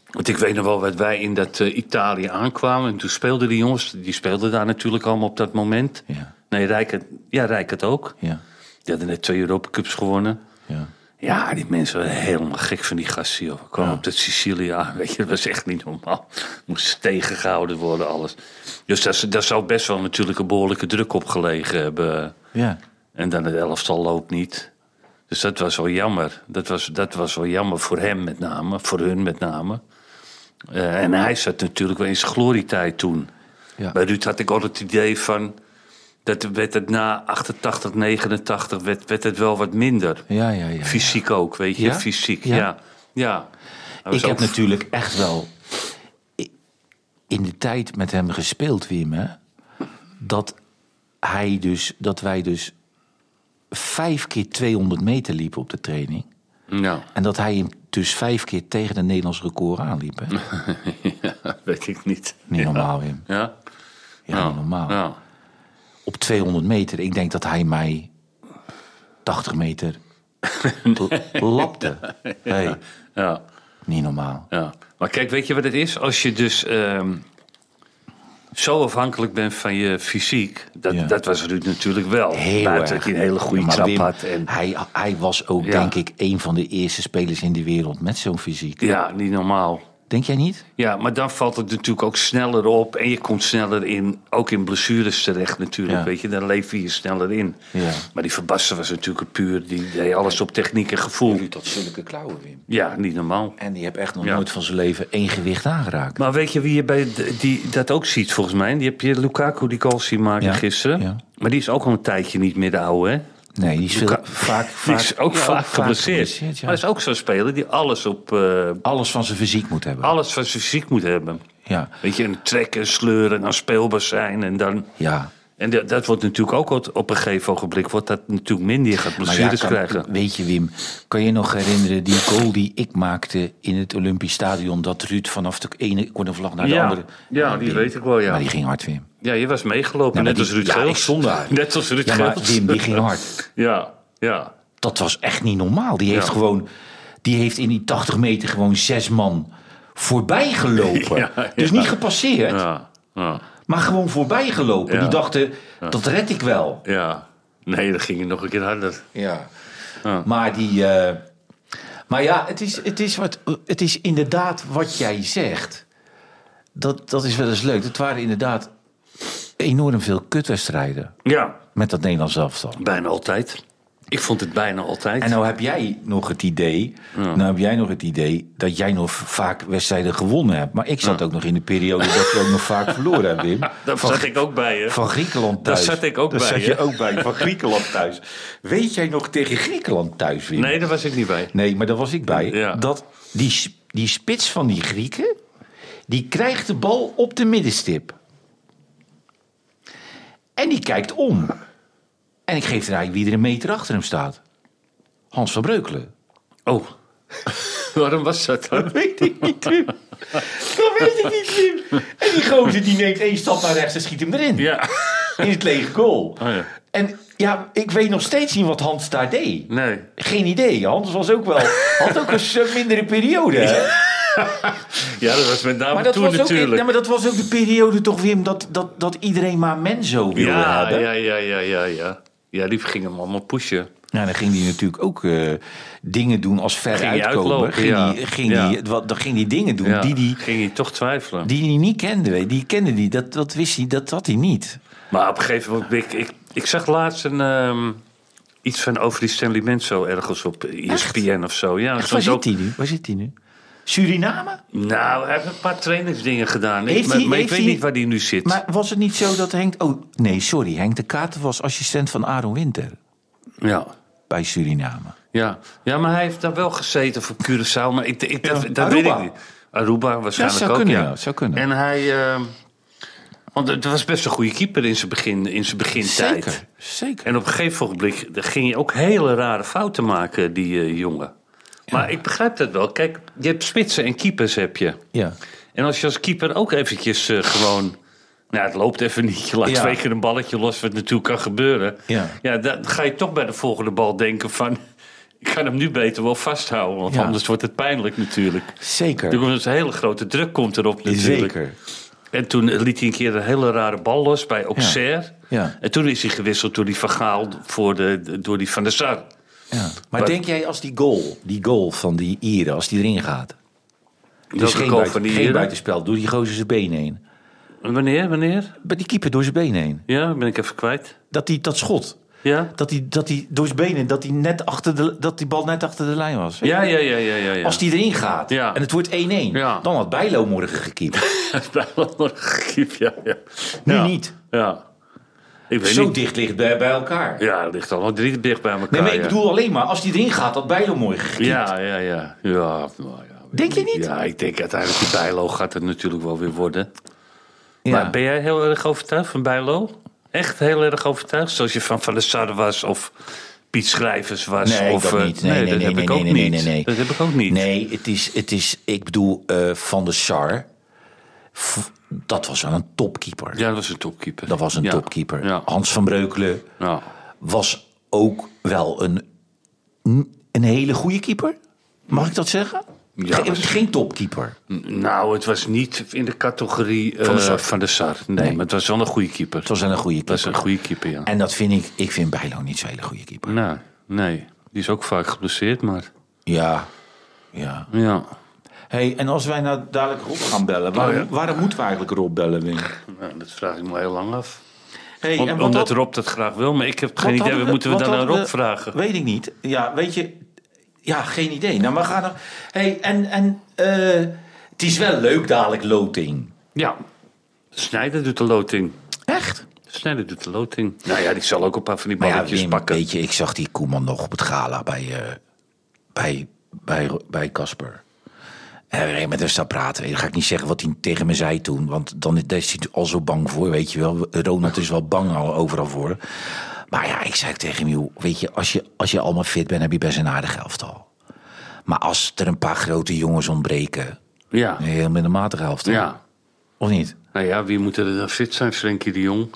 S3: Want ik weet nog wel dat wij in dat eh, Italië aankwamen. En toen speelden die jongens, die speelden daar natuurlijk allemaal op dat moment.
S2: Ja.
S3: Nee, Rijkert, ja, Rijkert ook.
S2: Ja.
S3: Die hadden net twee Europacups gewonnen.
S2: ja.
S3: Ja, die mensen waren helemaal gek van die gasten. Joh. We kwamen op dat Sicilië aan, weet je, dat was echt niet normaal. Moest tegengehouden worden, alles. Dus daar, daar zou best wel natuurlijk een behoorlijke druk op gelegen hebben. eh,
S2: Ja.
S3: En dan het elftal loopt niet. Dus dat was wel jammer. Dat was, dat was wel jammer voor hem met name, voor hun met name. Eh, en hij zat natuurlijk wel in zijn glorietijd toen.
S2: Ja.
S3: Bij Ruud had ik altijd het idee van... dat werd het na 88, 89 werd, werd het wel wat minder.
S2: Ja, ja, ja.
S3: Fysiek ook, weet je?
S2: Ja?
S3: Fysiek,
S2: Ja.
S3: ja. ja. Hij was
S2: Ik heb
S3: ook-
S2: natuurlijk echt wel i- in de tijd met hem gespeeld, Wim, hè, dat hij dus, dat wij dus vijf keer 200 meter liepen op de training.
S3: Ja,
S2: En dat hij hem dus vijf keer tegen het Nederlands record aanliep. Hè?
S3: weet ik niet.
S2: Niet normaal, Wim.
S3: Ja? Nou,
S2: Ja, niet normaal.
S3: Ja.
S2: Op 200 meter, ik denk dat hij mij 80 meter l- lapte. Hey,
S3: ja.
S2: niet normaal.
S3: Ja, maar kijk, weet je wat het is? Als je dus ehm, zo afhankelijk bent van je fysiek, dat,
S2: Ja.
S3: dat was Ruud natuurlijk wel.
S2: Heel
S3: Buiten
S2: erg.
S3: dat hij een hele goede
S2: Ja, maar
S3: trap
S2: Wim,
S3: had. En,
S2: hij, hij was ook,
S3: Ja.
S2: denk ik, een van de eerste spelers in de wereld met zo'n fysiek.
S3: ja, niet normaal.
S2: Denk jij niet?
S3: Ja, maar dan valt het natuurlijk ook sneller op. En je komt sneller in, ook in blessures terecht natuurlijk.
S2: Ja.
S3: Weet je, dan leef je je sneller in.
S2: Ja.
S3: Maar die Verbassen was natuurlijk een puur. Die deed alles op techniek en gevoel.
S2: Jullie tot zulke klauwen, Wim.
S3: Ja, niet normaal.
S2: En die heb echt nog
S3: Ja.
S2: nooit van zijn leven één gewicht aangeraakt.
S3: Maar weet je wie je bij d- die, dat ook ziet volgens mij? Die heb je Lukaku die goal zien maken
S2: Ja,
S3: gisteren.
S2: ja.
S3: Maar die is ook al een tijdje niet meer de oude, hè?
S2: Nee, die is veel-
S3: Luka-
S2: vaak,
S3: Die
S2: vaak,
S3: is ook
S2: ja,
S3: vaak geblesseerd.
S2: geblesseerd, ja.
S3: Maar dat is ook zo'n speler die alles, op, eh,
S2: Alles van zijn fysiek moet hebben.
S3: alles van zijn fysiek moet hebben.
S2: Ja.
S3: Weet je, en trekken, sleuren, en dan speelbaar zijn. En, dan,
S2: ja.
S3: en dat, dat wordt natuurlijk ook wat- op een gegeven ogenblik wordt dat natuurlijk minder. Je
S2: Maar
S3: gaat
S2: ja,
S3: blessures
S2: kan-
S3: krijgen.
S2: Weet je, Wim, kan je nog herinneren die goal die ik maakte in het Olympisch Stadion? Dat Ruud vanaf de ene cornervlag naar de
S3: Ja,
S2: andere.
S3: ja,
S2: Nou,
S3: die
S2: Wim,
S3: weet ik wel, ja.
S2: Maar die ging hard, Wim.
S3: Ja, je was meegelopen,
S2: Ja, maar
S3: net als
S2: die-
S3: Ruud
S2: ja,
S3: Geels.
S2: ik stond daar.
S3: Net als Ruud
S2: Ja, maar
S3: Geels.
S2: Wim, die ging hard.
S3: Ja, ja.
S2: Dat was echt niet normaal. Die heeft
S3: Ja.
S2: gewoon, die heeft in die 80 meter gewoon zes man voorbij gelopen.
S3: Ja, ja.
S2: Dus niet gepasseerd,
S3: Ja, ja,
S2: maar gewoon voorbij gelopen.
S3: Ja.
S2: Die dachten, dat red ik wel.
S3: ja. Nee, dat ging je nog een keer harder.
S2: Ja.
S3: Ja.
S2: Maar die. eh, maar ja, het is, het, is wat, het is inderdaad wat jij zegt. Dat, dat is wel eens leuk. Het waren inderdaad enorm veel kutwedstrijden
S3: Ja,
S2: met dat Nederlands elftal.
S3: bijna altijd. Ik vond het bijna altijd.
S2: En nou heb jij nog het idee, nou heb jij nog het idee dat jij nog vaak wedstrijden gewonnen hebt. Maar ik zat ook nog in de periode dat we ook nog vaak verloren hebben, Wim.
S3: Daar
S2: Van-
S3: zat ik ook bij, hè?
S2: Van Griekenland
S3: Daar
S2: thuis.
S3: zat ik ook
S2: Daar
S3: bij,
S2: zat
S3: hè?
S2: je ook bij, van Griekenland thuis. Weet jij nog tegen Griekenland thuis, Wim?
S3: Nee, daar was ik niet bij.
S2: Nee, maar daar was ik bij.
S3: Ja.
S2: Dat die, s- die spits van die Grieken, die krijgt de bal op de middenstip. En die kijkt om. En ik geef er eigenlijk wie er een meter achter hem staat. Hans van Breukelen.
S3: Oh. Waarom was dat dan?
S2: Dat weet ik niet, Wim. Dat weet ik niet, Wim. En die gozer die neemt één stap naar rechts en schiet hem erin.
S3: Ja.
S2: In het lege goal.
S3: Oh ja.
S2: En ja, ik weet nog steeds niet wat Hans daar deed.
S3: Nee.
S2: Geen idee. Hans was ook wel, had ook een sub mindere periode. hè?
S3: Ja, dat was met name
S2: Maar dat,
S3: toen
S2: was ook,
S3: natuurlijk.
S2: nee, maar dat was ook de periode toch, Wim, dat, dat, dat iedereen maar Menzo wilde
S3: ja,
S2: hebben.
S3: ja, ja, ja, ja, ja. Ja, die ging hem allemaal pushen.
S2: Nou, dan ging hij natuurlijk ook eh, dingen doen als ver
S3: Ging hij
S2: uitkomen.
S3: uitlopen,
S2: Ging
S3: ja.
S2: die- ging
S3: Ja.
S2: die- wat- Dan ging hij dingen doen
S3: Ja,
S2: die hij
S3: ging hij toch twijfelen.
S2: die hij niet kende. weet je. Die kende die, dat, dat wist hij, dat had hij niet.
S3: Maar op een gegeven moment, ik, ik, ik zag laatst een, ehm, iets van over die Stanley Menzo ergens op eh, E ESPN of zo. Ja,
S2: Echt,
S3: zo'n
S2: waar zit
S3: docu-
S2: hij nu? Waar zit hij nu? Suriname?
S3: Nou, hij heeft een paar trainingsdingen gedaan. Ik,
S2: Heeft
S3: maar
S2: hij-
S3: maar ik
S2: heeft
S3: weet
S2: hij-
S3: niet waar hij nu zit.
S2: Maar was het niet zo dat Henk... Oh, nee, sorry. Henk de Kater was assistent van Aaron Winter
S3: ja.
S2: bij Suriname.
S3: Ja. ja, maar hij heeft daar wel gezeten voor Curaçao. Maar ik, ik, dat,
S2: Ja,
S3: dat weet
S2: Aruba.
S3: ik niet. Aruba waarschijnlijk
S2: Ja, zou
S3: ook,
S2: kunnen,
S3: ja.
S2: ja, zou kunnen.
S3: En hij... ehm, want het was best een goede keeper in zijn, begin, in zijn begintijd.
S2: Zeker, zeker.
S3: En op een gegeven ogenblik ging je ook hele rare fouten maken, die eh, jongen. Maar ik begrijp dat wel. Kijk, je hebt spitsen en keepers heb je.
S2: Ja.
S3: En als je als keeper ook eventjes eh, gewoon... Nou, het loopt even niet. Je laat
S2: Ja.
S3: twee keer een balletje los, wat natuurlijk kan gebeuren.
S2: Ja.
S3: dan ga je toch bij de volgende bal denken van... Ik ga hem nu beter wel vasthouden, want
S2: Ja.
S3: anders wordt het pijnlijk natuurlijk. Er
S2: Zeker.
S3: komt dus een hele grote druk komt erop natuurlijk.
S2: Zeker.
S3: En toen liet hij een keer een hele rare bal los bij Auxerre.
S2: Ja.
S3: En toen is hij gewisseld door die Van Gaal voor de, door die Van der Sar.
S2: Ja. Maar,
S3: Maar-
S2: denk jij als die goal, die goal van die Ieren, als die erin gaat... Dus
S3: Welke
S2: geen,
S3: goal
S2: buiten,
S3: van die
S2: geen
S3: Ieren?
S2: buitenspel, door die gozer zijn been heen.
S3: Wanneer, wanneer?
S2: Bij die keeper door zijn been heen.
S3: Ja, ben ik even kwijt.
S2: Dat, die, dat schot,
S3: Ja?
S2: dat die, dat die door zijn been heen, dat die, net achter de, dat die bal net achter de lijn was.
S3: Ja, ja, ja, ja, ja. ja.
S2: Als die erin gaat
S3: Ja.
S2: en het wordt 1-1,
S3: Ja.
S2: dan had Bijlo morgen gekiept.
S3: ja, ja.
S2: Nu
S3: Ja.
S2: niet.
S3: Ja. Ik weet
S2: Zo
S3: niet.
S2: dicht ligt bij, bij elkaar.
S3: Ja, het ligt allemaal drie dicht bij elkaar.
S2: nee, maar ik
S3: ja.
S2: bedoel alleen maar, als die erin gaat, had Bijlo morgen gekiept.
S3: Ja, ja, ja. ja, nou ja.
S2: Denk je niet?
S3: Ja, ik denk uiteindelijk die Bijlo gaat het natuurlijk wel weer worden.
S2: Ja.
S3: Maar ben jij heel erg overtuigd van Bijlo? Echt heel erg overtuigd? Zoals je van Van der Sar was of Piet Schrijvers was?
S2: Nee,
S3: of,
S2: dat
S3: eh,
S2: niet. Nee, nee,
S3: dat
S2: nee,
S3: heb
S2: nee,
S3: ik ook
S2: nee, nee,
S3: niet.
S2: nee, nee.
S3: Dat heb ik ook niet.
S2: Nee, het is, het is ik bedoel, eh, Van der Sar, v- dat was wel een topkeeper.
S3: Ja, dat was een topkeeper. Nou.
S2: Dat was een
S3: Ja.
S2: topkeeper.
S3: Ja.
S2: Hans van Breukelen
S3: Ja.
S2: was ook wel een, een hele goede keeper. Mag ik dat zeggen?
S3: Ja,
S2: Ge-
S3: maar-
S2: geen topkeeper.
S3: Nou, het was niet in de categorie eh,
S2: Van der Sar.
S3: van der Sar. Nee,
S2: Nee.
S3: maar het was wel een goede keeper.
S2: Het was wel een goede
S3: was
S2: keeper.
S3: een goede keeper, ja.
S2: En dat vind ik, ik vind Bijlo niet zo'n hele goede keeper.
S3: Nou, nee. Die is ook vaak geblesseerd, maar...
S2: Ja, ja.
S3: Ja.
S2: hey, en als wij nou dadelijk Rob gaan bellen, waarom,
S3: Oh ja.
S2: waarom moeten we eigenlijk Rob bellen, Wim?
S3: Nou, dat vraag ik me heel lang af.
S2: Hey,
S3: Om-
S2: en wat
S3: omdat
S2: had-
S3: Rob dat graag wil, maar ik heb geen
S2: wat
S3: idee.
S2: hadden
S3: moeten we
S2: wat
S3: dan aan
S2: hadden
S3: Rob
S2: we-
S3: vragen?
S2: Weet ik niet. Ja, weet je. Ja, geen idee. Nou, maar ga dan. hey, en, en eh, het is wel leuk dadelijk loting.
S3: Ja, Snijder doet de loting.
S2: Echt?
S3: Snijder doet de loting. Nou ja, die zal ook een paar van die
S2: Maar ja,
S3: balletjes
S2: Wim,
S3: pakken.
S2: weet je, ik zag die Koeman nog op het gala bij eh, bij bij bij Casper. En we gingen met hem staan praten. Dan ga ik niet zeggen wat hij tegen me zei toen. Want dan is hij al zo bang voor, weet je wel. Ronald is wel bang al overal voor. Maar ja, ik zei ook tegen hem, joh, weet je, als je, als je allemaal fit bent, heb je best een aardig elftal. Maar als er een paar grote jongens ontbreken,
S3: Ja.
S2: een heel middelmatig elftal.
S3: ja.
S2: Of niet?
S3: Nou ja, wie moet er dan fit zijn? Frenkie de Jong.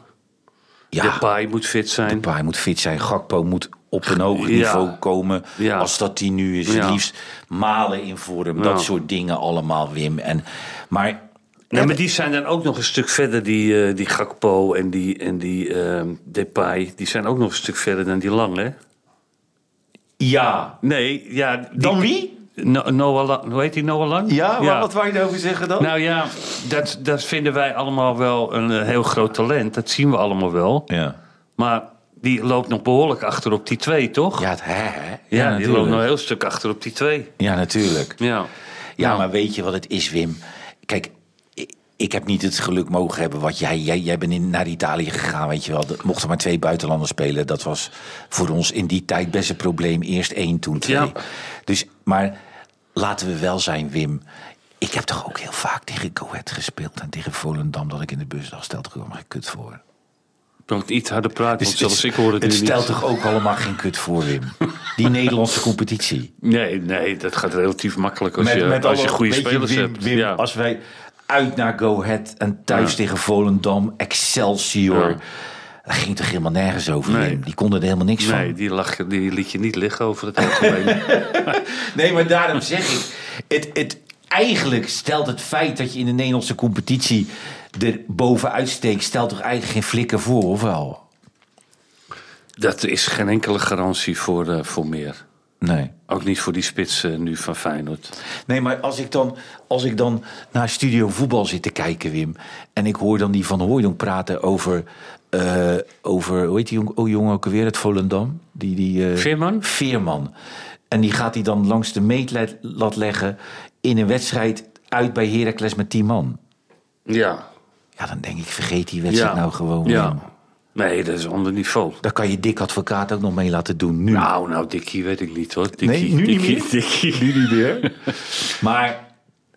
S2: Ja.
S3: Depay moet fit zijn.
S2: Depay moet fit zijn. Gakpo moet op een hoger
S3: Ja.
S2: niveau komen.
S3: Ja.
S2: Als dat die nu is. Het
S3: Ja.
S2: liefst malen in vorm.
S3: Ja.
S2: Dat soort dingen allemaal, Wim. En, maar
S3: Nee, maar die zijn dan ook nog een stuk verder, die, eh, die Gakpo en die, en die ehm, Depay. Die zijn ook nog een stuk verder dan die Lang, hè?
S2: ja.
S3: Nee, ja... die-
S2: Dan wie?
S3: No- Noah Lang. Hoe heet die, Noah Lang?
S2: Ja, maar wat wou je daarover zeggen dan?
S3: Nou ja, dat, dat vinden wij allemaal wel een eh, heel groot talent. Dat zien we allemaal wel.
S2: ja.
S3: Maar die loopt nog behoorlijk achter op die twee, toch?
S2: Ja, het hè, hè? Ja,
S3: Ja, die loopt nog een
S2: natuurlijk.
S3: heel stuk achter op die twee.
S2: Ja, natuurlijk.
S3: Ja.
S2: Ja,
S3: Nou.
S2: maar weet je wat het is, Wim? Kijk, ik, ik heb niet het geluk mogen hebben wat jij... Jij, jij bent in, naar Italië gegaan, weet je wel. Dat, mochten maar twee buitenlanders spelen. Dat was voor ons in die tijd best een probleem. Eerst één, toen twee.
S3: Ja.
S2: Dus, maar laten we wel zijn, Wim. Ik heb toch ook heel vaak tegen Go Ahead gespeeld... en tegen Volendam dat ik in de bus dacht... stel toch allemaal geen kut voor.
S3: Dan iets harder praten, want zelfs ik hoor het,
S2: het
S3: nu niet.
S2: stelt toch ook allemaal geen kut voor, Wim? Die Nederlandse competitie.
S3: Nee, nee, dat gaat relatief makkelijk als,
S2: Met-
S3: je,
S2: met
S3: als je
S2: alle-
S3: goede
S2: weet
S3: spelers
S2: Wim-
S3: hebt.
S2: Wim,
S3: ja.
S2: Als wij uit naar Go Ahead en thuis tegen Volendam, Excelsior.
S3: Ja.
S2: Dat ging toch helemaal nergens over,
S3: Nee.
S2: Wim? Die konden er helemaal niks
S3: nee,
S2: van.
S3: die, lag, die liet je niet liggen over het algemeen.
S2: Nee, maar daarom zeg ik... Het, het, eigenlijk stelt het feit dat je in de Nederlandse competitie er bovenuit steekt... stelt toch eigenlijk geen flikker voor, of wel?
S3: dat is geen enkele garantie voor, eh, voor meer.
S2: Nee.
S3: Ook niet voor die spits eh, nu van Feyenoord.
S2: Nee, maar als ik, dan, als ik dan naar Studio Voetbal zit te kijken, Wim... en ik hoor dan die Van Hooijdonk praten over... eh, over hoe heet die jong- oh, jongen ook weer uit Volendam? Die, die, eh,
S3: Veerman?
S2: Veerman. En die gaat hij dan langs de meetlat leggen... in een wedstrijd uit bij Heracles met 10 man.
S3: Ja.
S2: Ja, dan denk ik, vergeet die wedstrijd nou gewoon. Wim.
S3: Ja. Nee, dat is een ander niveau.
S2: Daar kan je dik advocaat ook nog mee laten doen nu.
S3: Nou, nou, Dikkie weet ik niet hoor. Dikkie,
S2: Nee, nu niet
S3: Dikkie,
S2: meer?
S3: Dikkie.
S2: Maar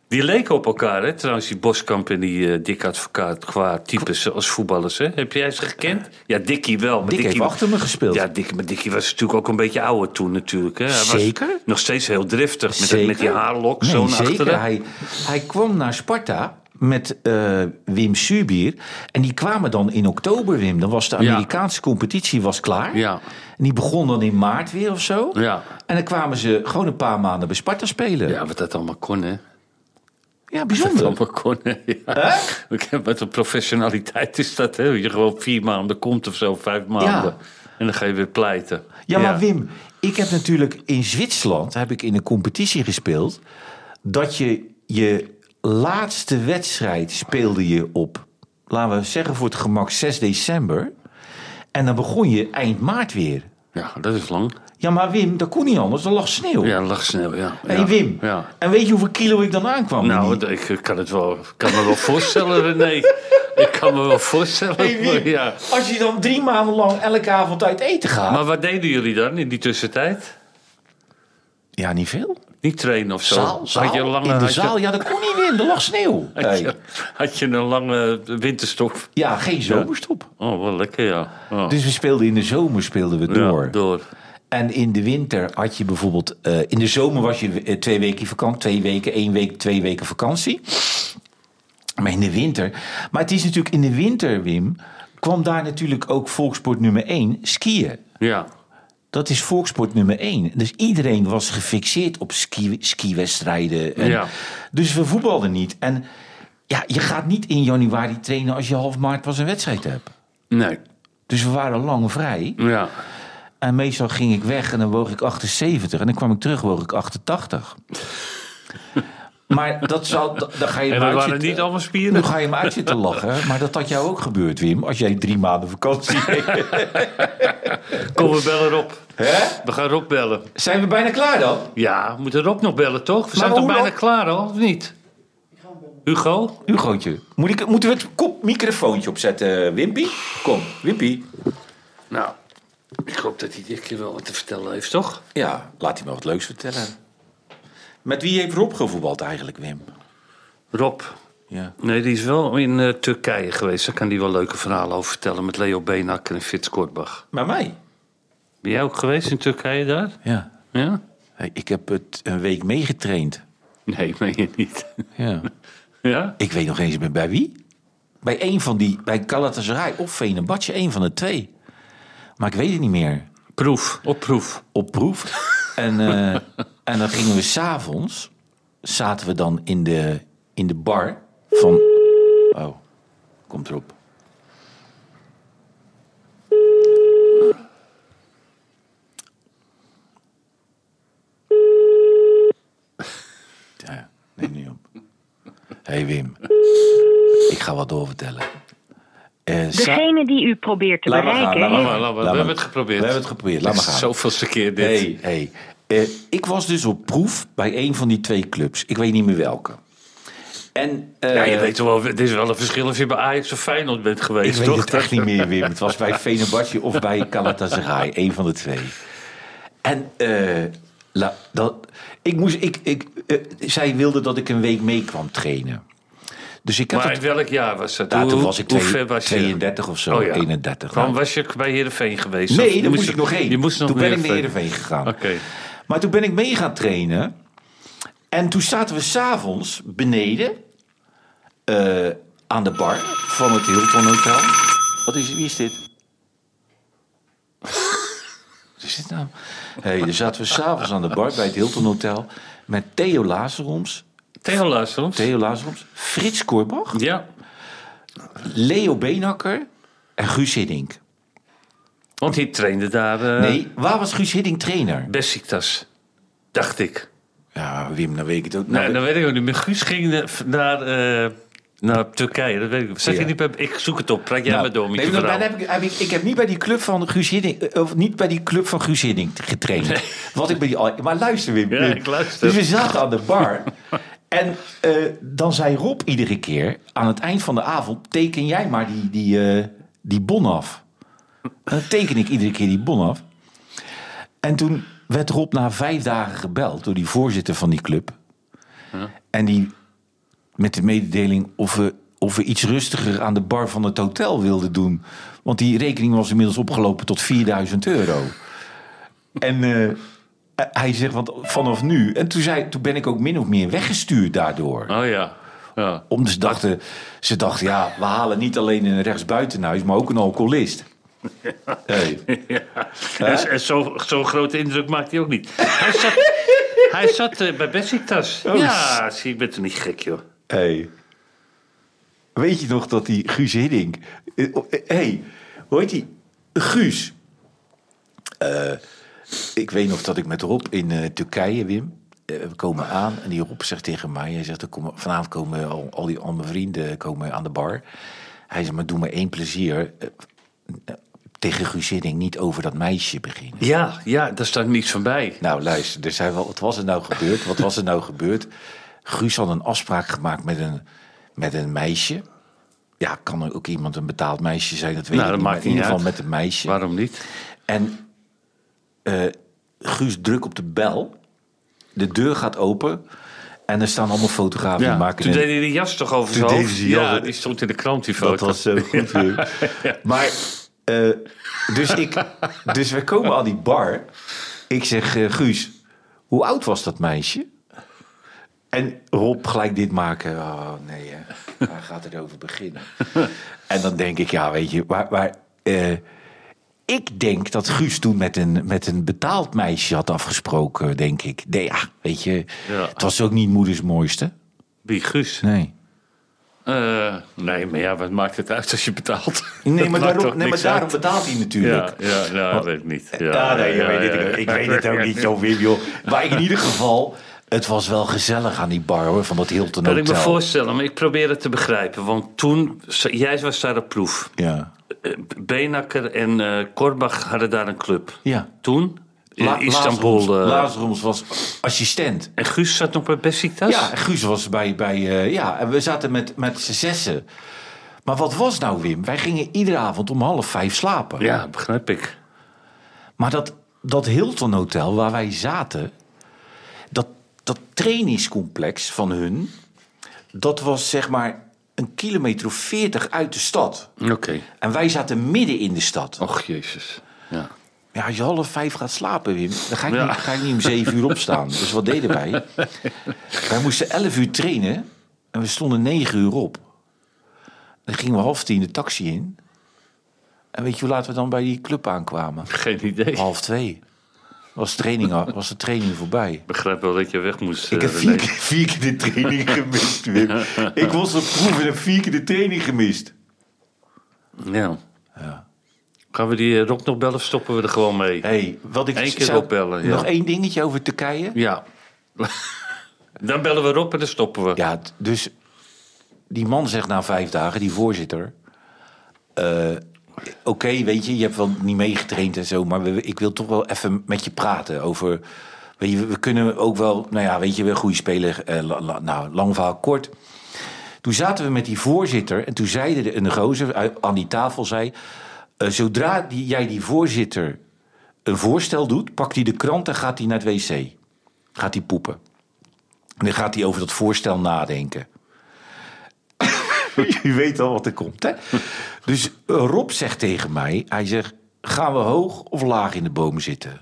S3: Die leken op elkaar, hè? Trouwens, die Boskamp en die eh Dick Advocaat qua types als voetballers, hè? Heb jij ze gekend? Ja, Dikkie wel. Maar
S2: Dick heeft achter me gespeeld.
S3: Ja, Dick, maar Dikkie was natuurlijk ook een beetje ouder toen natuurlijk, hè? Hij
S2: Zeker?
S3: Was nog steeds heel driftig met, dat- met die
S2: Zeker.
S3: haarlok
S2: Nee,
S3: zo naar
S2: zeker.
S3: achteren.
S2: Hij, hij kwam naar Sparta met eh, Wim Subier. En die kwamen dan in oktober, Wim. Dan was de
S3: Ja.
S2: Amerikaanse competitie was klaar.
S3: Ja.
S2: En die begon dan in maart weer of zo.
S3: Ja.
S2: En dan kwamen ze gewoon een paar maanden bij Sparta spelen. Ja,
S3: Ja, wat dat allemaal kon, hè? Dat
S2: bijzonder.
S3: allemaal kon, hè? Ja. Hè? Wat een professionaliteit is dat, hè? Je gewoon vier maanden komt of zo, vijf maanden. En dan ga je weer pleiten.
S2: Ja, maar Wim, ik heb natuurlijk in Zwitserland heb ik in een competitie gespeeld. Dat je je laatste wedstrijd speelde je op, laten we zeggen voor het gemak 6 december. En dan begon je eind maart weer.
S3: Ja, dat is lang.
S2: Ja, maar Wim, dat kon niet anders. Er lag sneeuw.
S3: Ja, lag snel, ja.
S2: Hé
S3: ja.
S2: Wim,
S3: Ja.
S2: en weet je hoeveel kilo ik dan aankwam?
S3: Nou,
S2: Winnie?
S3: d- ik eh, kan, het wel, ik kan me wel voorstellen, René. Ik kan me wel voorstellen.
S2: Hé, Wim,
S3: maar ja.
S2: als je dan drie maanden lang elke avond uit eten gaat.
S3: Maar wat deden jullie dan in die tussentijd?
S2: ja, niet veel.
S3: Niet trainen of zo?
S2: Zaal, zaal,
S3: had je een lange,
S2: in de
S3: had je-
S2: zaal. Ja, dat kon niet, Wim. Er lag sneeuw.
S3: had,
S2: Hey.
S3: je, had je een lange winterstop?
S2: Ja, geen zomerstop.
S3: Oh, wel lekker, ja. Oh.
S2: Dus we speelden in de zomer speelden we
S3: Ja,
S2: door.
S3: door.
S2: En in de winter had je bijvoorbeeld... eh, in de zomer was je eh, twee weken vakantie. Twee weken, één week, twee weken vakantie. Maar in de winter... Maar het is natuurlijk in de winter, Wim... kwam daar natuurlijk ook volkssport nummer één, skiën.
S3: Ja.
S2: Dat is volkssport nummer één. Dus iedereen was gefixeerd op ski, skiwedstrijden. En
S3: Ja.
S2: Dus we voetbalden niet. En ja, je gaat niet in januari trainen als je half maart pas een wedstrijd hebt.
S3: Nee.
S2: Dus we waren lang vrij.
S3: Ja.
S2: En meestal ging ik weg en dan woog ik 78. En dan kwam ik terug, woog ik 88. Maar dat zal, da- dan ga je
S3: En
S2: hem
S3: we
S2: uit
S3: waren
S2: zitten-
S3: niet allemaal
S2: Nu
S3: spieren.
S2: ga je hem uit zitten lachen, maar dat had jou ook gebeurd, Wim. Als jij drie maanden vakantie hebt.
S3: Kom, we bellen Rob.
S2: Hè?
S3: We gaan Rob bellen.
S2: Zijn we bijna klaar dan?
S3: Ja, we moeten Rob nog bellen, toch? We zijn
S2: hoe
S3: toch bijna
S2: lang?
S3: klaar al, of niet? Hugo?
S2: Hugootje, moet ik, moeten we het kop microfoontje opzetten, eh, Wimpy? Kom, Wimpy.
S3: Nou, ik hoop dat hij dit keer wel wat te vertellen heeft, toch?
S2: Ja, laat hij me wat leuks vertellen. Met wie heeft Rob gevoetbald eigenlijk, Wim?
S3: Rob.
S2: Ja.
S3: Nee, die is wel in eh, Turkije geweest. Daar kan hij wel leuke verhalen over vertellen met Leo Beenhakker en Frits Kortbach.
S2: Bij mij?
S3: Ben jij ook geweest in Turkije daar?
S2: Ja.
S3: Ja?
S2: Hey, Ik heb het een week meegetraind.
S3: Nee, meen je niet.
S2: Ja.
S3: ja?
S2: Ik weet nog eens bij- bij wie. Bij een van die, bij Galatasaray of Venebadje, één van de twee. Maar ik weet het niet meer.
S3: Proef, op proef.
S2: op proef. en, eh, en dan gingen we s'avonds, zaten we dan in de, in de bar van... Oh, komt erop. Ja, neem niet op. Hé hey Wim, ik ga wat doorvertellen. Eh, sa-
S4: Degene die u probeert te
S2: Laat maar gaan,
S4: bereiken.
S2: laat maar
S4: heeft-
S2: gaan.
S3: Maar, laat maar, we
S2: Laat
S3: hebben
S2: maar.
S3: het geprobeerd.
S2: We hebben het geprobeerd, laat
S3: Het
S2: maar
S3: is
S2: gaan.
S3: Zoveelste keer dit.
S2: Hey, hey. Eh, ik was dus op proef bij een van die twee clubs. Ik weet niet meer welke. En, eh,
S3: Ja, je weet toch wel, het is wel een verschil of je bij Ajax of Feyenoord bent
S2: ik
S3: geweest,
S2: weet
S3: toch?
S2: het echt niet meer, Wim. Het was bij Fenerbahce of bij Galatasaray. Een van de twee. En eh, la- dat, ik moest, ik, ik, eh, zij wilde dat ik een week mee kwam trainen. Dus ik had
S3: Maar
S2: het...
S3: in welk jaar was dat?
S2: Ja,
S3: Hoe-
S2: toen was ik
S3: hoe
S2: twee-
S3: ver was je? Oh
S2: 32 of zo, 31.
S3: Waarom
S2: Nou.
S3: was je bij Heerenveen geweest? Of
S2: Nee, daar moest
S3: je-
S2: ik nog heen.
S3: Je moest nog
S2: toen ben ik naar
S3: Heerenveen.
S2: Heerenveen gegaan.
S3: Oké.
S2: Maar toen ben ik mee gaan trainen. En toen zaten we s'avonds beneden eh, aan de bar van het Hilton Hotel. Wat is, wie is dit? Wat is dit nou? Hey, daar zaten we s'avonds aan de bar bij het Hilton Hotel met Theo Lazaroms,
S3: Theo luister ons.
S2: Theo Lazaroms, Frits Korbach,
S3: Ja.
S2: Leo Beenakker en Guus Hiddink.
S3: Want die trainde daar eh
S2: Nee, waar was Guus Hiddink trainer?
S3: Besiktas. Dacht ik.
S2: Ja, Wim, dan weet ik het ook.
S3: Nou,
S2: Nou,
S3: dat weet ik ook niet. Maar Guus ging eh, f- naar, eh, naar Turkije. Dat weet ik. Zat
S2: Ja.
S3: je niet bij... Ik zoek het op. Praat jij
S2: Nou,
S3: maar door met
S2: nee,
S3: je
S2: maar dan
S3: verhaal.
S2: heb ik, heb ik, ik heb niet bij die club van Guus Hiddink, eh, of niet bij die club van Guus Hiddink getraind. Wat ik bij die, maar luister Wim.
S3: Ja,
S2: Wim.
S3: ik luister.
S2: Dus we zaten aan de bar. En eh, dan zei Rob iedere keer aan het eind van de avond: teken jij maar die, die, eh, die bon af. En dan teken ik iedere keer die bon af. En toen werd Rob na vijf dagen gebeld door die voorzitter van die club. En die met de mededeling of we, of we iets rustiger aan de bar van het hotel wilden doen. Want die rekening was inmiddels opgelopen tot 4000 euro. En eh, hij zegt, want vanaf nu... En toen, zei, toen ben ik ook min of meer weggestuurd daardoor.
S3: Oh ja. ja.
S2: Omdat ze dachten, ze dachten, ja, we halen niet alleen een rechtsbuitenhuis... maar ook een alcoholist. Hey.
S3: En, en zo- zo'n grote indruk maakt hij ook niet. Hij zat, hij zat eh, bij Besiktas.
S2: Oh.
S3: ja, zie, ik ben toch niet gek, joh.
S2: Hey. Weet je nog dat die Guus Hiddink... Hé, hey, hoe heet die? Guus. Eh, ik weet nog dat ik met Rob in eh, Turkije, Wim... eh, we komen aan en die Rob zegt tegen mij... Hij zegt, er komen, vanavond komen al, al, die, al mijn vrienden komen aan de bar. Hij zegt, maar doe me één plezier... eh, eh, tegen Guus Hiddink niet over dat meisje beginnen.
S3: Ja, ja, daar staat niets van bij.
S2: Nou, luister, er zijn wel, wat was er nou gebeurd? Wat was er nou gebeurd? Guus had een afspraak gemaakt met een, met een meisje. Ja, kan ook iemand een betaald meisje zijn, dat weet
S3: Nou,
S2: ik
S3: dat
S2: niet. maar
S3: maakt
S2: in
S3: niet
S2: ieder geval
S3: uit.
S2: met een meisje.
S3: Waarom niet?
S2: En eh, Guus drukt op de bel. De deur gaat open. En er staan allemaal fotografen. die maken
S3: Toen
S2: een-
S3: deed hij de jas toch over
S2: Toen
S3: zijn
S2: deed
S3: hoofd?
S2: hij die
S3: ja,
S2: jas-
S3: die stond in de krant, die foto.
S2: Dat was zo goed weer. Maar, eh, dus, ik, dus we komen aan die bar. Ik zeg, eh, Guus, hoe oud was dat meisje? En Rob gelijk dit maken. Oh nee, hè. hij gaat erover beginnen. En dan denk ik, ja, weet je, maar, maar eh, ik denk dat Guus toen met een, met een betaald meisje had afgesproken, denk ik. Nee, ja, weet je,
S3: Ja.
S2: het was ook niet moeders mooiste.
S3: Wie, Guus?
S2: Nee.
S3: Eh, nee, maar ja, wat maakt het uit als je betaalt?
S2: Nee,
S3: Dat
S2: maar,
S3: maakt
S2: daarom,
S3: toch
S2: nee, maar
S3: niks
S2: daarom
S3: uit?
S2: betaalt hij natuurlijk.
S3: Ja, ja, nou, dat weet ik niet. Ja,
S2: Ja, nee, je
S3: ja,
S2: weet
S3: ja,
S2: het ook.
S3: ja.
S2: ik weet het ook niet zo, Wim, joh. Maar in ieder geval, Het was wel gezellig aan die bar hoor, van dat Hilton
S3: Kan
S2: Hotel.
S3: ik me voorstellen, maar ik probeer het te begrijpen. Want toen, jij was daar op proef.
S2: Ja.
S3: Eh, Benakker en eh Korbach hadden daar een club.
S2: ja.
S3: Toen? In
S2: La-
S3: Istanbul.
S2: Lazarus-
S3: eh,
S2: Lazarus was assistent.
S3: en Guus zat nog bij Besiktas?
S2: Ja, en Guus was bij... bij eh, ja, en we zaten met, met z'n zessen. Maar wat was nou, Wim? Wij gingen iedere avond om half vijf slapen.
S3: Ja, begrijp ik.
S2: Maar dat, dat Hilton Hotel waar wij zaten... Dat, dat trainingscomplex van hun... dat was zeg maar een kilometer of veertig uit de stad.
S3: Oké.
S2: En wij zaten midden in de stad.
S3: Och, jezus. Ja.
S2: Ja, als je half vijf gaat slapen, Wim, dan ga ik,
S3: Ja.
S2: niet, ga ik niet om zeven uur opstaan. Dus wat deden wij? Wij moesten elf uur trainen en we stonden negen uur op. Dan gingen we half tien de taxi in. En weet je hoe laat we dan bij die club aankwamen?
S3: Geen idee.
S2: Half twee. Was, training, al- was de training voorbij.
S3: Ik begrijp wel dat je weg moest. eh,
S2: Ik heb vier keer, vier keer de training gemist, Wim. Ik was op proef en heb vier keer de training gemist.
S3: Ja. Gaan we die eh, Rob nog bellen of stoppen we er gewoon mee?
S2: hey, wat ik
S3: Eén keer
S2: zou-
S3: opbellen, ja.
S2: Nog één dingetje over Turkije.
S3: Ja. dan bellen we Rob en dan stoppen we.
S2: Ja, t- dus die man zegt na vijf dagen, die voorzitter. eh, Oké, weet je, je hebt wel niet meegetraind en zo, maar we- ik wil toch wel even met je praten over. Weet je, we kunnen ook wel, nou ja, weet je, wel een goede speler. eh, la- la- nou, lang verhaal kort. Toen zaten we met die voorzitter en toen zeiden de, een gozer uit- aan die tafel zei... eh, zodra die, jij die voorzitter een voorstel doet, pakt hij de krant en gaat hij naar het wc. Gaat hij poepen. En dan gaat hij over dat voorstel nadenken. Je weet al wat er komt, hè? Dus eh, Rob zegt tegen mij, hij zegt... gaan we hoog of laag in de bomen zitten?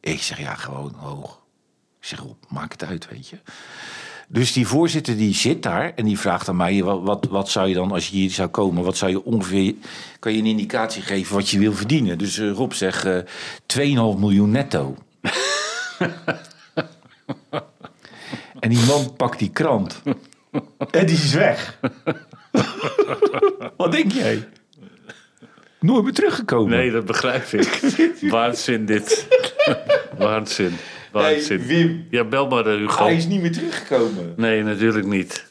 S2: Ik zeg, ja, gewoon hoog. Ik zeg, Rob, maak het uit, weet je. Dus die voorzitter die zit daar en die vraagt aan mij... Wat, wat, wat zou je dan, als je hier zou komen... wat zou je ongeveer... kan je een indicatie geven wat je wil verdienen? Dus eh, Rob zegt, eh 2,5 miljoen netto. En die man pakt die krant. En die is weg. Wat denk jij? Nooit meer teruggekomen.
S3: Nee, dat begrijp ik. Waanzin dit. Waanzin. Waanzin.
S2: Nee, Wim.
S3: Ja, bel maar eh, Hugo.
S2: Hij is niet meer teruggekomen.
S3: Nee, natuurlijk niet.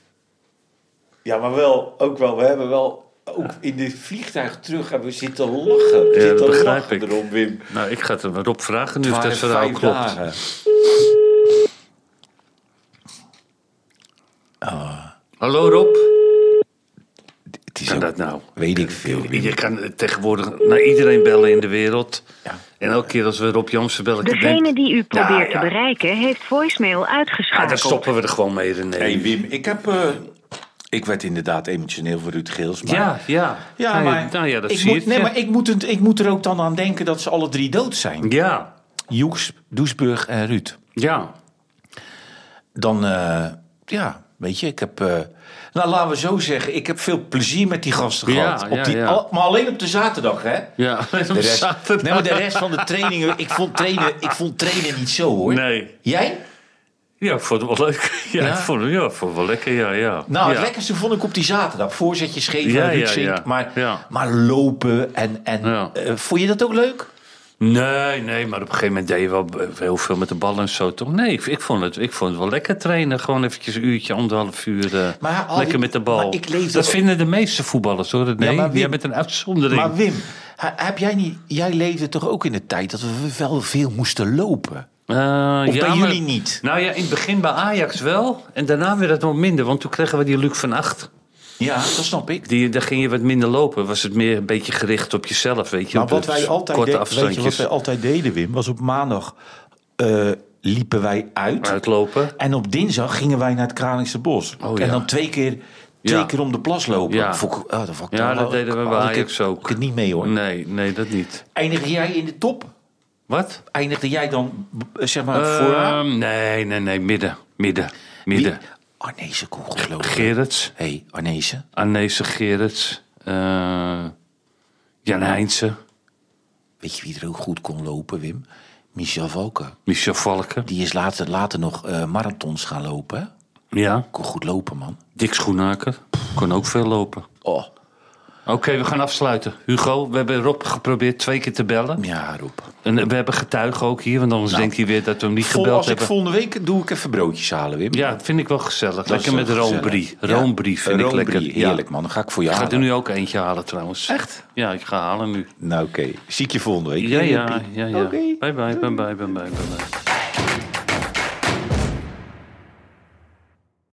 S2: Ja, maar wel, ook wel. We hebben wel ook in dit vliegtuig terug hebben we zitten lachen. We
S3: Ja,
S2: zitten
S3: dat begrijp
S2: lachen
S3: ik.
S2: erom, Wim.
S3: Nou, ik ga het hem Rob vragen nu of
S2: Waren
S3: dat verhaal
S2: vijf
S3: klopt.
S2: dagen.
S3: Hallo Rob.
S2: Het is
S3: Kan
S2: ook-
S3: dat nou?
S2: Weet ik veel. Wim.
S3: Je kan eh, tegenwoordig naar iedereen bellen in de wereld.
S2: Ja.
S3: En elke keer als we Rob Jansen bellen... ik
S4: Degene
S3: denk-
S4: die u
S3: Ja,
S4: probeert
S3: ja.
S4: te bereiken heeft voicemail
S3: Ja, Ah, dan
S4: uitgeschakeld.
S3: stoppen we er gewoon mee, René.
S2: hey, Wim, ik heb... eh, ik werd inderdaad emotioneel voor Ruud Geels. Maar
S3: ja, ja.
S2: Ja,
S3: Nou
S2: maar,
S3: nou ja, dat
S2: ik
S3: zie
S2: moet,
S3: je.
S2: nee,
S3: ja.
S2: maar ik moet, het, ik moet er ook dan aan denken dat ze alle drie dood zijn.
S3: Ja,
S2: Joeks, Doesburg en Ruud.
S3: ja.
S2: Dan, eh, ja, weet je, ik heb... eh, nou, laten we zo zeggen, ik heb veel plezier met die gasten
S3: Ja,
S2: gehad. Op
S3: ja,
S2: die,
S3: ja.
S2: al- maar alleen op de zaterdag, hè?
S3: Ja,
S2: De rest, nee, maar de rest van de trainingen... Ik vond trainen, ik vond trainen niet zo, hoor.
S3: Nee.
S2: Jij?
S3: Ja, ik vond het wel leuk. Ja,
S2: Ja?
S3: Ik vond, het- ja, ik vond het wel lekker, ja, ja.
S2: Nou,
S3: ja.
S2: het lekkerste vond ik op die zaterdag. Voorzetjes geven,
S3: Ja,
S2: ja,
S3: ja, ja.
S2: Maar,
S3: Ja.
S2: maar lopen en... en
S3: Ja.
S2: eh, vond je dat ook leuk?
S3: Nee, nee, maar op een gegeven moment deed je wel heel veel met de bal en zo, toch? Nee, ik, ik, vond, het, ik vond het wel lekker trainen. Gewoon eventjes een uurtje, anderhalf uur, eh,
S2: Maar al
S3: lekker
S2: die-
S3: met de bal.
S2: maar ik leefde-
S3: dat vinden de meeste voetballers, hoor. Nee,
S2: Ja, maar Wim-
S3: jij bent een uitzondering.
S2: Maar Wim, ha- heb jij niet... Jij leefde toch ook in de tijd dat we wel veel moesten lopen?
S3: Eh,
S2: Of bij
S3: ja, maar-
S2: jullie niet?
S3: Nou ja, in het begin bij Ajax wel. En daarna werd het wat minder, want toen kregen we die Luc van Acht.
S2: Ja, dat snap ik.
S3: Die, daar ging je wat minder lopen. Was het meer een beetje gericht op jezelf, weet je.
S2: Maar
S3: op
S2: Nou, wat
S3: de
S2: wij altijd,
S3: korte
S2: deden- weet je,
S3: afstandjes
S2: wat wij altijd deden, Wim, was op maandag eh, liepen wij uit.
S3: uitlopen.
S2: En op dinsdag gingen wij naar het Kralingse Bos.
S3: Oh, ja.
S2: En dan twee keer, twee
S3: Ja.
S2: keer om de plas lopen.
S3: Ja.
S2: Dat vond ik- oh, dat, vond ik
S3: Ja,
S2: toch wel-
S3: dat deden we
S2: had
S3: bij
S2: ik het-
S3: Ajax ook.
S2: had Ik het niet mee hoor.
S3: Nee, nee, dat niet.
S2: Eindigde jij in de top?
S3: Wat?
S2: Eindigde jij dan, b- zeg maar,
S3: Ehm,
S2: vooraan?
S3: nee, nee, nee, midden. Midden.
S2: Wie-
S3: Midden.
S2: Arnezen kon geloven.
S3: Gerrits.
S2: Hé, hey, Arnezen.
S3: Arnezen Gerrits. eh, Jan Heijnsen.
S2: Weet je wie er ook goed kon lopen, Wim? Michel Valken.
S3: Michel Valken.
S2: Die is later, later nog eh, marathons gaan lopen. hè?
S3: Ja.
S2: Kon goed lopen, man.
S3: Dick Schoenaker. Kon ook veel lopen.
S2: Oh.
S3: Oké, we gaan afsluiten. Hugo, we hebben Rob geprobeerd twee keer te bellen.
S2: Ja, Rob.
S3: En we hebben getuigen ook hier, want anders denkt hij weer dat we hem niet
S2: Nou, Vol,
S3: gebeld
S2: als ik
S3: hebben.
S2: volgende week doe ik even broodjes halen, Wim.
S3: Ja, vind ik wel gezellig. Lekker
S2: is
S3: met
S2: wel gezellig.
S3: roombrie.
S2: Ja.
S3: Roombrie vind ik
S2: Roombrie,
S3: lekker. Ja.
S2: Heerlijk, man. Dan ga ik voor je
S3: Ik ga er
S2: halen.
S3: nu ook eentje halen trouwens.
S2: Echt?
S3: Ja, ik ga halen nu.
S2: Nou, oké. Zie ik je volgende week.
S3: Ja, ja, ja. ja.
S2: Oké.
S3: Bye, bye, bye, bye, bye, bye, bye. bye.